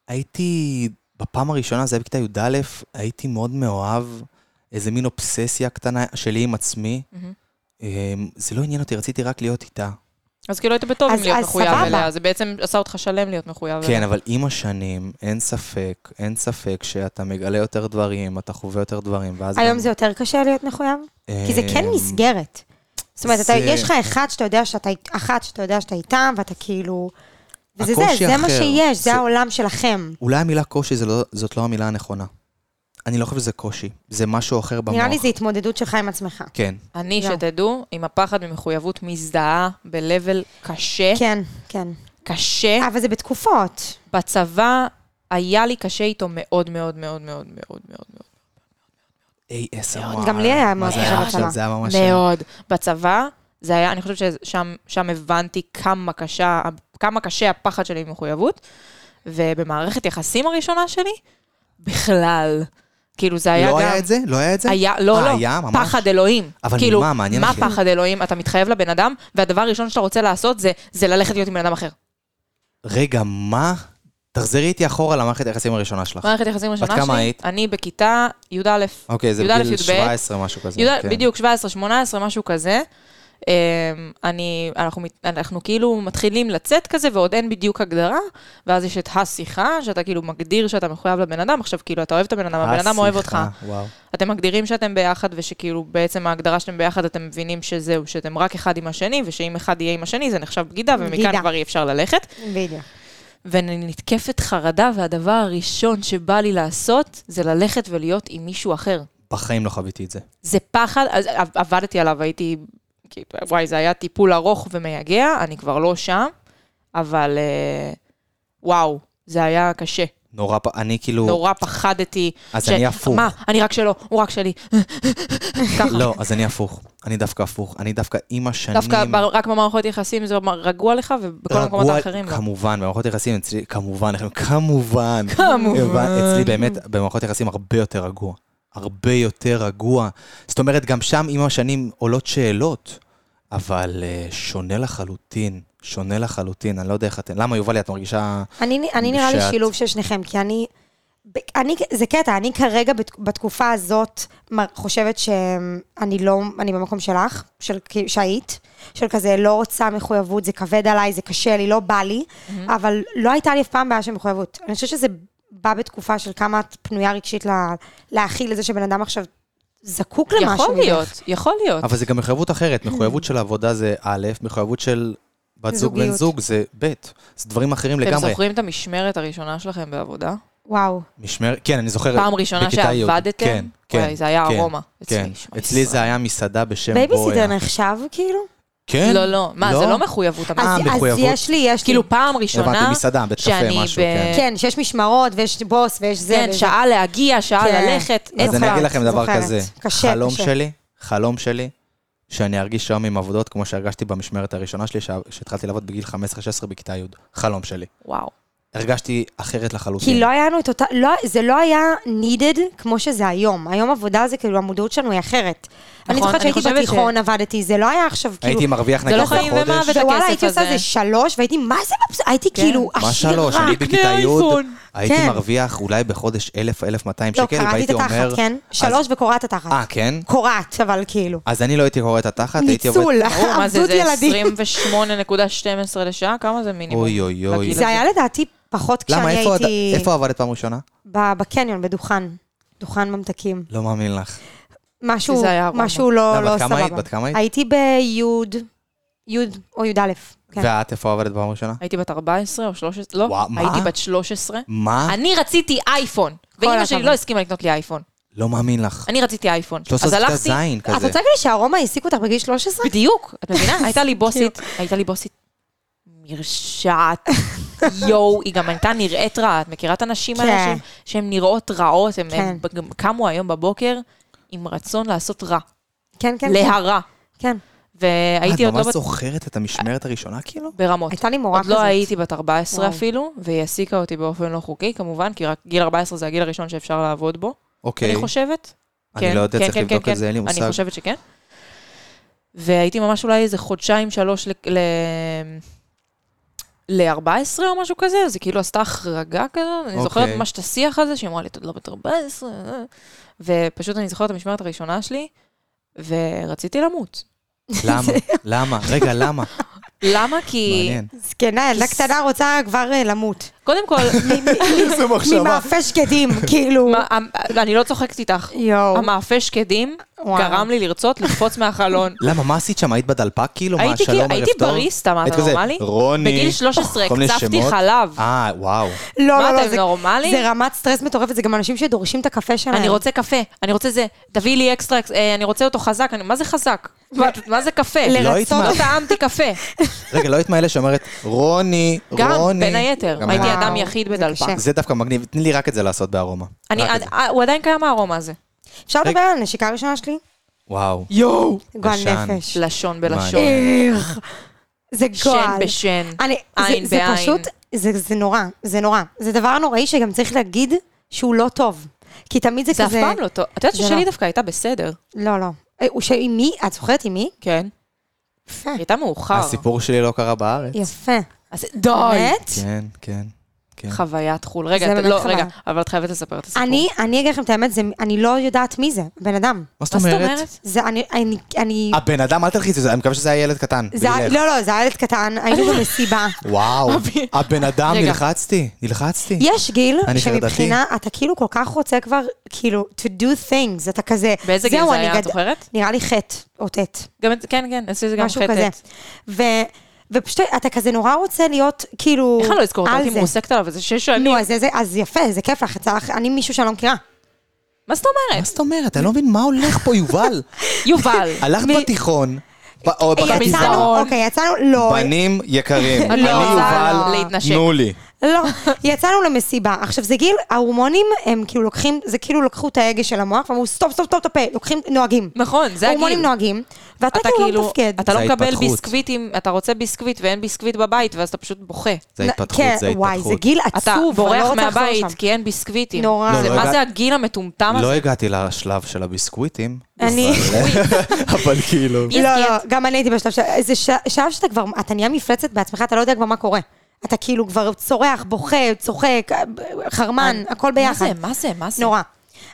הייתי, בפעם הראשונה, זה היה בכיתה י"א, הייתי מאוד מאוהב, איזה מין אובססיה קטנה שלי עם עצמי. אמ, זה לא עניין אותי, רציתי רק להיות איתה.
אז כאילו היית בטוב
אז-
עם להיות
אז
מחויב
סבבה.
אליה, זה בעצם עשה אותך שלם להיות מחויב אליה.
כן, אבל עם השנים, אין ספק, אין ספק שאתה מגלה יותר דברים, אתה חווה יותר דברים, ואז...
היום
גם-
זה יותר קשה להיות מחויב?
אה,
כי זה כן מסגרת. זאת אומרת, אתה-
זה-
יש לך אחד שאתה יודע שאתה, אחת שאתה יודע שאתה איתם, ואתה כאילו... וזה זה,
הקושי
זה מה
אחר.
שיש, זה
זה-
העולם שלכם.
אולי המילה קושי זה לא- זאת לא המילה הנכונה. אני לא חושב שזה קושי, זה משהו אחר במוח.
נראה לי זה התמודדות שלך עם עצמך.
כן.
אני,
לא.
שתדעו, עם הפחד ממחויבות מזדהה ב-level קשה,
כן, כן.
קשה.
אבל זה בתקופות.
בצבא היה לי קשה איתו מאוד מאוד מאוד מאוד מאוד מאוד מאוד.
ASMR.
גם לי
מה
היה לא, מאוד
זה היה עכשיו?
קשה בצבא.
זה היה ממש...
מאוד. בצבא, זה היה, אני חושבת ששם שם הבנתי כמה קשה, כמה קשה הפחד שלי ממחויבות, ובמערכת יחסים הראשונה שלי, בכלל. כאילו זה היה גם...
לא היה את זה? לא היה את זה?
היה, לא,
אה,
לא,
היה, ממש?
פחד אלוהים.
אבל
כאילו,
ממה? מעניין
מה
אותי.
פחד אלוהים? אתה מתחייב לבן אדם, והדבר הראשון שאתה רוצה לעשות זה, זה ללכת להיות עם בן אדם אחר.
רגע, מה? תחזרי איתי אחורה למערכת היחסים הראשונה שלך.
מערכת יחסים ראשונה שלי,
כמה היית?
אני בכיתה י"א.
אוקיי, זה
י"א,
בגיל
י"ב.
17, משהו כזה.
יודע,
כן.
בדיוק, 17, 18, משהו כזה. אמ, אני, אנחנו, מת- אנחנו כאילו מתחילים לצאת כזה, ועוד אין בדיוק הגדרה, ואז יש את השיחה, שאתה כאילו מגדיר שאתה מחויב לבן אדם, עכשיו כאילו אתה אוהב את הבן אדם, הבן אדם אוהב אותך.
השיחה, אה, וואו.
אתם מגדירים שאתם ביחד, ושכאילו בעצם ההגדרה שאתם ביחד, אתם מבינים שזהו, שאתם רק אחד עם השני, ושאם אחד יהיה עם השני, זה נחשב בגידה, ומכאן
בגידה.
כבר אי אפשר ללכת.
בדיוק.
ואני נתקפת חרדה, והדבר הראשון שבא לי לעשות, זה ללכת ולהיות עם מישהו אחר.
בחיים לא חוויתי את זה.
זה פחד, אז עב- עבדתי עליו, הייתי, כאילו, וואי, זה היה טיפול ארוך ומייגע, אני כבר לא שם, אבל אה, וואו, זה היה קשה.
נורא, פ- אני כאילו...
נורא פחדתי.
אז אני הפוך.
מה, אני רק שלו, הוא רק שלי. (laughs) ככה.
לא, אז אני הפוך. אני דווקא הפוך. אני דווקא עם השנים...
דווקא ב- רק במערכות יחסים זה אמר, רגוע לך, ובכל המקומות
רגוע-
האחרים לא.
כמובן, במערכות יחסים אצלי, כמובן, כמובן.
כמובן.
הבנ- אצלי באמת, במערכות יחסים הרבה יותר רגוע. הרבה יותר רגוע. זאת אומרת, גם שם עם השנים עולות שאלות, אבל אה, שונה לחלוטין. שונה לחלוטין, אני לא יודע איך אתם... למה, יובלי, את מרגישה...
אני, אני נראה לי
שאת-
שילוב של שניכם, כי אני, ב- אני, זה קטע, אני כרגע בת- בתקופה הזאת מ- חושבת שאני לא, אני במקום שלך, של, כי- שהיית, של כזה לא רוצה מחויבות, זה כבד עליי, זה קשה לי, לא בא לי, mm-hmm. אבל לא הייתה לי אף פעם בעיה של מחויבות. אני חושבת שזה בא בתקופה של כמה את פנויה רגשית ל- להכיל את זה שבן אדם עכשיו זקוק למשהו.
יכול
ממך.
להיות, יכול להיות.
אבל זה גם מחויבות אחרת. מחויבות של עבודה זה א', מחויבות של בת זוג בן
זוגיות.
זוג זה ב', זה דברים אחרים
אתם
לגמרי.
זוכרים את המשמרת הראשונה שלכם בעבודה?
וואו.
משמר... כן, אני זוכר.
פעם ראשונה
בכיתה י'.
שעבדתם?
כן, כן.
וואי, זה היה
כן,
ארומה. אצלי,
כן.
שמע
אצלי
ישראל.
זה היה מסעדה בשם בויה.
בייביסיטר נחשב, כאילו?
כן?
לא, לא. מה, זה לא מחויבות
אז,
המערכת.
אז
מחויבות.
יש לי, יש לי.
כאילו פעם ראשונה,
לא, הבנתי, מסעדה, בית קפה,
שאני
משהו,
ב-
כן.
כן, שיש משמרות ויש בוס ויש זה.
כן,
וזה.
שעה להגיע, שעה
כן.
ללכת.
אז אני
אז זוכרת,
אגיד לכם דבר
זוכרת.
כזה.
קשה,
חלום
קשה.
שלי, חלום שלי, שאני ארגיש היום עם עבודות כמו שהרגשתי במשמרת הראשונה שלי, שה- שהתחלתי לעבוד בגיל 15-16 בכיתה י'. חלום שלי.
וואו.
הרגשתי אחרת לחלוטין.
כי לא היה לנו את אותה, לא, זה לא היה needed כמו שזה היום. היום עבודה זה כאילו, המודעות שלנו היא אחרת.
נכון,
אני זוכרת
אני
שהייתי
חושבת
בתיכון, עבדתי, זה לא היה עכשיו כאילו...
הייתי מרוויח
זה
נגיד
לא חיים ומוות,
בחודש.
את
ווואלה,
הכסף
הייתי עושה
הזה.
איזה שלוש, והייתי, מה זה מבסוט? הייתי
כן.
כאילו
מה
עשירה.
שלוש? אני בכיתה
קנה
י'
אייפון.
הייתי
כן.
מרוויח אולי בחודש 1,000-1,200
לא,
שקל,
קראתי את
והייתי אומר...
התחת, כן?
אז-
שלוש וקורעת התחת.
אה, כן?
קורעת, אבל כאילו.
אז אני לא הייתי קורא את התחת, הייתי עובד...
ניצול,
ברור, מה זה,
עבדות
זה
ילדים.
28.12 לשעה? כמה זה מינימום?
אוי, אוי, אוי.
לגיל
זה
הזה.
היה לדעתי פחות כשאני
למה, איפה עוד-
הייתי
איפה עבדת פעם ראשונה?
ב- בקניון, בדוכן. דוכן ממתקים.
לא מאמין לך.
משהו,
זה היה ארומה.
משהו לא,
למה,
לא
בת כמה
סבבה.
היית? בת כמה היית?
הייתי ביוד, יוד או י"א. כן.
ואת, איפה עבדת פעם ראשונה?
הייתי בת 14 או 13? לא,
וואו, מה?
הייתי בת 13.
מה?
אני רציתי אייפון, ואימא שלי
אה. הכבוד.
לא הסכימה לקנות לי אייפון.
לא מאמין לך.
אני רציתי אייפון.
לא
אז
עשית
הלכתי, אה,
זין
את
כזה.
רוצה כאילו שהרומא העסיקו אותך בגיל 13?
בדיוק, את
(laughs)
מבינה? הייתה לי בוסית, הייתה לי בוסית מרשעת. יואו, היא גם הייתה נראית רעה. את מכירה את הנשים האלה
כן.
שהן- שהן נראות רעות? הן-
כן.
הן גם קמו היום בבוקר עם רצון לעשות רע.
כן, כן.
להרע.
כן.
והייתי עוד
את
לא
ממש
בת...
זוכרת את המשמרת הראשונה כאילו?
ברמות.
הייתה לי מורה
עוד
כזאת.
לא הייתי בת 14
וואו.
אפילו, והיא העסיקה אותי באופן לא חוקי, כמובן, כי רק גיל 14 זה הגיל הראשון שאפשר לעבוד בו,
אוקיי.
אני חושבת.
אני לא יודע,
כן,
צריך
כן,
לבדוק
כן,
את זה, אין לי
כן.
מושג.
אני חושבת שכן. והייתי ממש אולי איזה חודשיים, שלוש ל... ל... ל-14 או משהו כזה, אז היא כאילו עשתה החרגה כזו, אני זוכרת
אוקיי.
ממש את השיח הזה, שהיא אמרה לי, את עוד לא בת 14, אה." ופשוט אני זוכרת את המשמרת הראשונה שלי, ורציתי למות. (laughs)
למה? למה? רגע, למה?
למה? כי... (laughs)
מעניין.
זקנה, ילדה כן, קטנה רוצה כבר אה, למות.
קודם כל,
(laughs)
איזה מחשבה.
ממאפה שקדים, (laughs) כאילו.
מה- אה, המ- אני לא צוחקת איתך.
יואו.
המאפה שקדים
וואו.
גרם לי לרצות לקפוץ מהחלון.
למה, מה עשית שם? היית בדלפק כאילו? מה,
הייתי
שלום,
כאילו-
ערב
הייתי
טוב?
בריסטה, מה,
היית
אתה
כזה,
נורמלי?
רוני.
בגיל 13
כל מיני
הקצבתי
שמות?
חלב.
אה, וואו.
לא,
מה,
לא, לא,
אתם
זה-
נורמלים?
זה רמת סטרס מטורפת, זה גם אנשים שדורשים את הקפה שלהם.
אני רוצה קפה, אני רוצה זה, תביאי לי אקסטרה, אקס- אה, אני רוצה אותו חזק, אני- מה זה חזק? מה- מה זה קפה?
לא
לרצות,
התמ-
לא טעמתי קפה.
(laughs) רגע, לא היית מאלה שאומרת, רוני,
גם,
רוני.
בין היתר,
גם
הייתי
אני.
אדם יחיד
זה
בדלפק.
קשה.
זה דווקא מגניב, תני לי רק את זה לעשות בארומה.
אני-
רק את זה.
אה, הוא עדיין קיים הארומה הזה.
אפשר
רגע.
לדבר על הנשיקה הראשונה שלי?
וואו.
יואו.
גועל
ישן.
נפש.
לשון בלשון.
מעניין.
איך? זה
שן
גועל.
בשן.
אני- זה-
עין
זה
בעין.
פשוט, זה זה נורא, זה נורא. זה דבר נוראי שגם צריך להגיד שהוא לא טוב. כי תמיד זה
זה
כזה...
אף פעם לא טוב. את יודעת
זה
ששלי
לא.
דווקא הייתה בסדר.
לא, לא. אה, הוא ש- עם מי? את זוכרת עם מי?
כן.
יפה.
היא הייתה מאוחר.
אה.
הסיפור שלי לא קרה בארץ.
יפה.
אז- די.
באמת?
כן, כן. כן.
חוויית חו"ל. רגע,
זה
את-
באמת
לא,
חבל.
רגע, אבל את חייבת לספר את הסיפור.
אני, אני אגיד לכם את האמת, זה- אני לא יודעת מי זה, בן אדם.
מה זאת
מה זאת
אומרת?
אומרת?
זה, אני, אני, אני...
הבן אדם, אל תלחיצי, זה- אני מקווה שזה היה ילד קטן.
זה, לא. היה-
בגילך.
לא, לא, זה היה ילד קטן, היינו
(laughs)
במסיבה.
וואו, הבן אדם,
רגע.
נלחצתי, נלחצתי.
יש גיל
אני
שמבחינה, אתה כאילו כל כך רוצה כבר, כאילו, to do things, אתה כזה,
באיזה גיל
זהו,
זה
אני
היה, את
גד-
זוכרת?
נראה לי חטא או טט,
גם את- כן, כן, עשיתי זה גם
משהו כזה.
חטאת.
ו, ופשוט אתה כזה נורא רוצה להיות, כאילו,
איך אני לא אזכור אותה?
על
הייתי
זה.
מועסקת עליו איזה שש שנים.
נו, אז, איזה, אז יפה, זה כיף לך, יצא לך, אני מישהו שאני לא מכירה.
מה זאת
מה
(laughs)
אומרת?
זאת אומרת? אני לא מבין מה הולך פה, יובל.
יובל.
הלכת
מי-
בתיכון, ב- או בחטיבה.
יצאנו, אוקיי, יצאנו, לא,
בנים יקרים, אני
לא
יובל,
רוצה להתנשק.
תנו לי.
לא, יצאנו למסיבה. עכשיו, זה גיל, ההורמונים הם כאילו לוקחים, זה כאילו לקחו את ההגה של המוח, ואמרו, סטופ, סטופ, סטופ, את הפה, לוקחים, נוהגים.
נכון, זה
הורמונים
הגיל.
נוהגים, ואתה
אתה
כאילו לא
כאילו,
מתפקד.
אתה לא
זה
מקבל
ההתפתחות.
ביסקוויטים, אתה רוצה ביסקוויט ואין ביסקוויט בבית, ואז אתה פשוט בוכה.
זה
נ-
התפתחות,
כן,
זה
וואי, זה
התפתחות.
גיל
אתה
עצוב, אני
בורח
לא רוצה לחזור
מהבית
שם.
כי אין ביסקוויטים.
נורא.
לא,
זה-
לא
מה
הגע-
זה הגיל המטומטם
לא
הזה?
הגעתי לשלב של
(laughs)
הביסקוויטים,
כאילו.
אני...
אבל כאילו...
ביסקט.
לא, לא, גם אני הייתי בשלב של... זה ש- שלב שאתה כבר, אתה נהיה מפלצת בעצמך, אתה לא יודע כבר מה קורה. אתה כאילו כבר צורח, בוכה, צוחק, חרמן, הכל ביחד.
אה, מה זה, מה זה, מה זה?
נורא.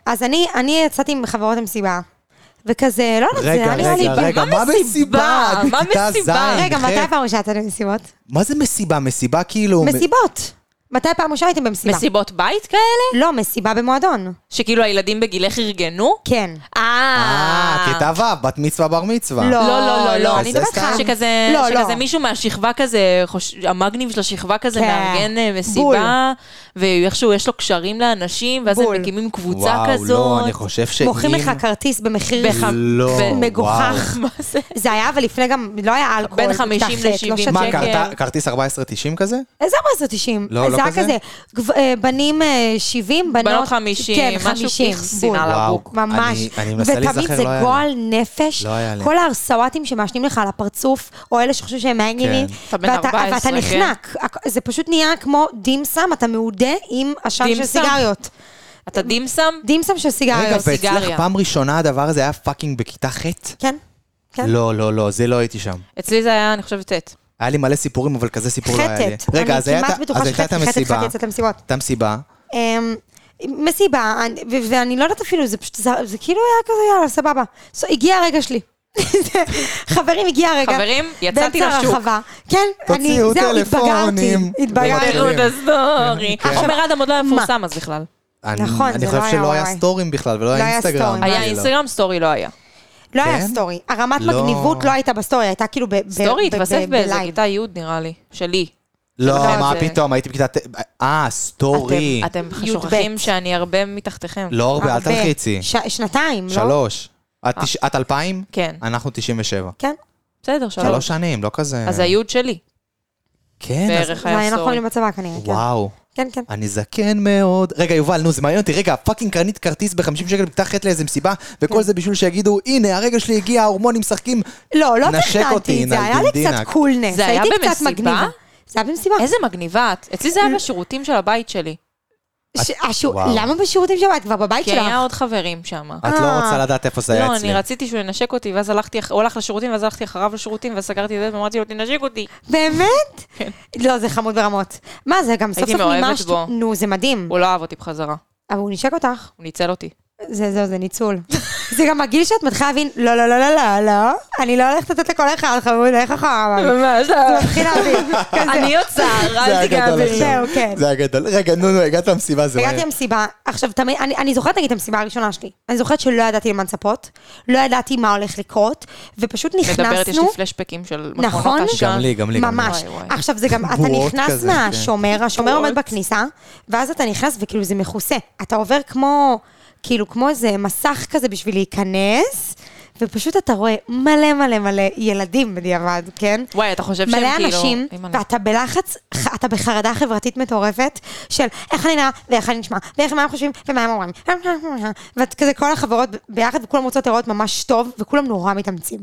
אז אני, אני יצאתי עם חברות למסיבה, וכזה, לא יודעת, זה
רגע,
היה נראה לי...
רגע, רגע, מה מסיבה? את
מה
בכיתה
מסיבה?
ז',
רגע,
אחי.
מתי הפעם ראשונה יצאתם למסיבות?
מה זה מסיבה? מסיבה כאילו...
מסיבות. מתי הפעם ראשונה הייתם במסיבה?
מסיבות בית כאלה?
לא, מסיבה במועדון.
שכאילו הילדים בגילך ארגנו?
כן.
אה, כיתה ו', בת מצווה, בר מצווה.
לא.
לא, לא, לא, לא.
כזה
אני מדברת איתך
סתם.
שכזה,
לא,
שכזה
לא.
מישהו מהשכבה כזה, חוש... המגניב של השכבה כזה
כן.
מארגן אה,
בול.
מסיבה, ואיכשהו יש לו קשרים לאנשים, ואז
בול.
הם מקימים קבוצה
וואו,
כזאת.
לא, אני חושב שאם...
מוכרים לך כרטיס במחיר
בח-
לא,
מגוחך.
(laughs) מה זה?
זה היה, אבל לפני גם, לא היה אלכוהול.
בין
בכיתה
50
ח',
ל-70.
לא שתיתי.
מה,
שקל.
כרת- כרטיס 14.90 כזה?
איזה 490?
לא, לא
זה היה
כזה?
כזה, גב- אה, בנים אה, 70, בנות...
בנות 50,
כן,
משהו
50.
פיקס,
בול.
שנאה על
וואו,
הבוק.
ממש.
אני- אני מנסה
ותמיד
להיזכר,
זה
לא היה לי.
גועל נפש.
לא היה לי.
כל ההרסוואטים שמעשנים לך על הפרצוף, או אלה שחושבים שהם מעניינים,
כן.
אתה בן
ואתה-
14,
ואתה
כן.
נחנק. הכ- זה פשוט נהיה כמו דים סם, אתה מעודה עם עשן
דים
של
סם.
סיגריות.
אתה דים סם?
דים סם של
רגע,
סיגריות.
ואצלך
סיגריה.
פעם ראשונה הדבר הזה היה פאקינג בכיתה ח'?
כן? כן.
לא, לא, לא, זה לא הייתי שם.
אצלי זה היה, אני חושבת, ט'.
היה לי מלא סיפורים, אבל כזה סיפור לא היה לי.
חטט.
רגע, אז
אני
היה את ה-
כמעט בטוחה
אז הייתה את
שחטט חטט
המסיבה.
התחלתי לצאת למסיבות.
הייתה מסיבה.
אמ, מסיבה, אני- ו- ואני לא יודעת אפילו, זה פשוט, זה זה כאילו היה כזה, יאללה, סבבה. So, הגיע הרגע שלי. (laughs) חברים, הגיע הרגע.
חברים, יצאתי
באמצע
לשוק.
הרחבה. כן, אני,
תוציאו
זהו, התבגרתי.
טלפונים.
התבגרתי.
תראו
תראו
את
את הסטורי.
כן.
עומר אדם עוד לא היה מפורסם אז בכלל.
אני-
נכון,
אני
זה
חושב
לא היה
שלא היה
וואי.
סטורים בכלל, ולא
לא
היה
היה
אינסטגרם.
סטורים.
היה
לא.
אה, אינסטגרם, סטורי לא היה.
לא
כן?
היה סטורי. הרמת
לא.
מגניבות לא הייתה בסטורי, הייתה כאילו ב- ב-
סטורי
ב-
התווסף
ב-
באיזה
בלייב.
כיתה י' נראה לי, שלי.
לא,
לא,
מה
זה-
פתאום, הייתי בכיתה... ט- אה, סטורי.
אתם- אתם
י"ב.
שוכחים שאני הרבה מתחתיכם.
לא הרבה, אל
הרבה.
תלחיצי.
ש- שנתיים, לא?
שלוש. את תש- את 2000?
כן.
אנחנו 97.
כן.
בסדר,
שלוש
שלוש.
שנים, לא כזה...
אז היוד שלי,
כן, אז-
בערך
זה היה
היה
נכון
סטורי.
לי בצבא כנראה, כן.
וואו.
כן, כן.
אני זקן מאוד. רגע, יובל, נו, זה מעניין אותי. רגע, פאקינג קרנית כרטיס ב-50 שקל בכיתה ח' לאיזה מסיבה, וכל זה בשביל שיגידו, הנה, הרגע שלי הגיע, ההורמונים משחקים.
לא, לא
נשק אותי,
תכננתי את זה, היה לי
נלדינדינה.
קצת קולנס.
זה היה
הייתי קצת
במסיבה?
מגניבה. זה היה במסיבה.
איזה מגניבה את. אצלי
כן.
זה היה בשירותים של הבית שלי.
ש- השו-
וואו.
למה בשירותים שם? את כבר בבית
כי
שלך.
היה עוד חברים שם.
את לא רוצה לדעת איפה זה היה
לא,
אצלי.
אני רציתי שהוא ינשק אותי, ואז הלכתי, אח- הוא הלך לשירותים, ואז הלכתי אחריו לשירותים, ואז סגרתי את זה, ואמרתי לו, תנשק אותי.
באמת?
כן.
לא, זה חמוד ברמות. מה, זה גם סוף
הייתי
סוף
מאוהבת
מימשת...
בו.
נו, זה מדהים.
הוא לא אהב אותי בחזרה,
אבל הוא נשק אותך.
הוא ניצל אותי.
זה, זהו, זה ניצול. זה גם הגיל שאת מתחילה להבין, לא, לא, לא, לא, לא, לא, אני לא הולכת לתת לכל אחד חמוד, איך אחריו?
ממש,
זה מתחיל להבין. כזה.
(laughs) אני יוצר,
זה
אל
היה
תיגע
גדול
בי.
עכשיו.
זהו, כן.
זה היה גדול. רגע, נו, נו, הגעת למסיבה, זה
הגעתי למסיבה, עכשיו, תמיד, אני, אני זוכרת נגיד את המסיבה הראשונה שלי. אני זוכרת שלא ידעתי למה לצפות, לא ידעתי מה הולך לקרות, ופשוט
מדברת, יש לי
נכנסנו,
פלשבקים של
נכון?
מכונות עשן.
גם לי, גם לי. גם לי.
ממש.
וואי, וואי.
עכשיו זה גם, אתה
בועות
נכנס
כזה, כן.
מהשומר, השומר עומד
בועות.
בכניסה, ואז אתה נכנס וכאילו זה מכוסה. אתה עובר כמו, כאילו כמו איזה מסך כזה בשביל להיכנס, ופשוט אתה רואה מלא מלא מלא ילדים בדיעבד, כן?
וואי, אתה חושב שהם
מלא
כאילו...
אנשים,
אימא'לה.
ואתה בלחץ, ח- אתה בחרדה חברתית מטורפת של איך אני נראה ואיך אני נשמע, ואיך מה הם חושבים ומה הם אומרים. ואת כזה כל החברות ב- ביחד, וכולם רוצות לראות ממש טוב, וכולם נורא מתאמצים.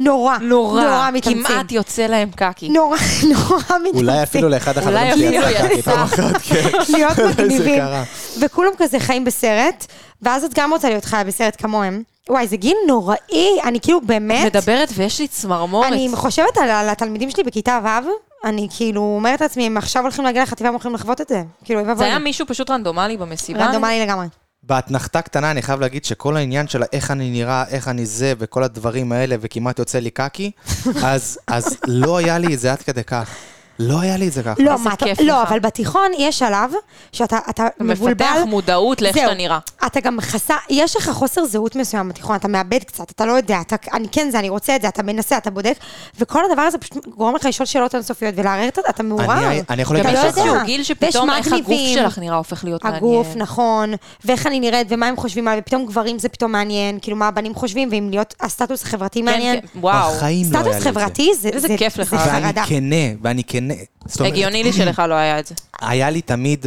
נורא,
נורא,
נורא מתאמצים.
כמעט יוצא להם קקי.
נורא, (laughs) נורא מתאמצים.
אולי אפילו לאחד
אולי
החברים שלי
אפילו
יצא ככה פעם
יצא.
אחת, כן. (laughs)
להיות
זה
מגניבים.
קרה.
וכולם כזה חיים בסרט, ואז את גם רוצה להיות חיה בסרט כמוהם. וואי, זה גיל נוראי, אני כאילו באמת...
מדברת ויש לי צמרמורת.
אני חושבת על, על התלמידים שלי בכיתה ו', אני כאילו אומרת לעצמי, הם עכשיו הולכים להגיע לחטיבה, הם הולכים לחוות את זה. כאילו, אוי
זה
ואבוי.
היה מישהו פשוט רנדומלי במסיבה.
רנדומלי לגמרי.
באתנחתה קטנה אני חייב להגיד שכל העניין של איך אני נראה, איך אני זה וכל הדברים האלה וכמעט יוצא לי קקי, אז, אז לא היה לי את זה עד כדי כך. לא היה לי את זה ככה.
לא,
איזה
מה, אתה-
כיף
לא,
לך.
אבל בתיכון יש שלב שאתה אתה
אתה מפתח
מבולבל.
מודעות לאיך
זהו.
שאתה נראה.
אתה גם חסר, יש לך חוסר זהות מסוים בתיכון, אתה מאבד קצת, אתה לא יודע, אתה, אני כן זה, אני רוצה את זה, אתה מנסה, אתה בודק, וכל הדבר הזה פשוט גורם לך לשאול שאלות אינסופיות ולערער את אתה מעורר.
אני, אני יכול
גם
להגיד
אתה
יש
לא
לך,
יודע.
איזשהו גיל שפתאום
ויש
איך הגוף
מגניבים.
שלך נראה הופך להיות מעניין. כן,
הגוף, נכון, ואיך אני נראית, ומה הם חושבים עליי, ופתאום גברים זה פתאום מעניין, כאילו מה הבנים חושבים, ואם להיות הסטטוס החברתי
כן,
מעניין.
כן, וואו.
בחיים לא היה לי את
סטטוס
זה.
חברתי זה
איזה
זה-
כיף לך.
זה
ואני
חרדה.
כנה, ואני כנה. זאת אומרת,
הגיוני לי שלך לא היה את זה.
היה לי תמיד,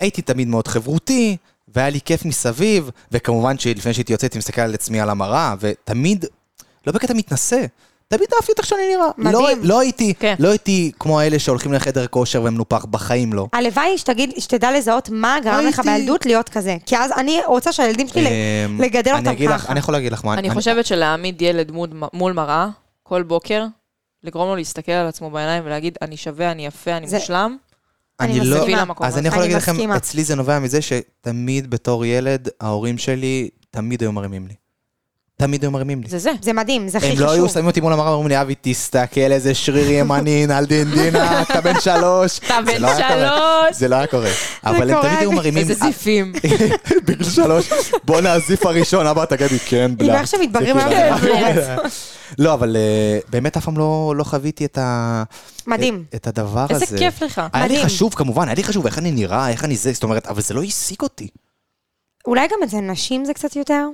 הייתי תמיד מאוד חברותי, והיה לי כיף מסביב, וכמובן שלפני שהייתי יוצא, הייתי מסתכל על עצמי על המראה, ותמיד, לא בקטע מתנשא. תמיד אהבתי אותך שאני נראה.
מדהים.
לא, לא, הייתי,
כן.
לא הייתי כמו האלה שהולכים לחדר כושר ומנופח, בחיים לא.
הלוואי שתגיד, שתדע לזהות מה
לא
גרם לך
הייתי-
בילדות להיות כזה. כי אז אני רוצה שהילדים שלי,
אמ,
לגדל
אני
אותם
אגיד לך-
ככה.
אני יכול להגיד לך מה...
אני חושבת שלהעמיד ילד מול- מול מראה כל בוקר, לגרום לו להסתכל על עצמו בעיניים ולהגיד, אני שווה, אני יפה, אני
זה-
מושלם,
אני
אני
לא-
מביא למקום
אז
הזה.
אני יכול
אני
להגיד לכם,
מסכימה.
אצלי זה נובע מזה שתמיד בתור ילד, ההורים שלי תמיד היו מרימים לי. תמיד היו מרימים לי.
זה זה.
זה מדהים, זה הכי
הם
חשוב.
לא היו שמים אותי מול המראה ואומרים לי, אבי, תסתכל איזה שריר ימני, נלדינדינה, אתה בן שלוש.
אתה
זה
בן
לא היה קורה.
שלוש,
זה אה, לא היה קורה. אבל הם
קורה,
תמיד היו
אני-
מרימים...
איזה זיפים.
(laughs) בגיל שלוש, בוא נעזיף הראשון, אבא, תגידי, כן, בלה.
עם איך שמתבגרים
זה
היום,
כאילו-
זה
לא, אבל אה, באמת אף פעם לא לא חוויתי את ה...
מדהים.
את- את הדבר הזה.
איזה כיף לך.
היה לי
מדהים.
חשוב, כמובן, היה לי חשוב איך אני נראה, איך אני זה, זאת אומרת, אבל זה לא העסיק אותי.
אולי גם אצל נשים זה קצת יותר?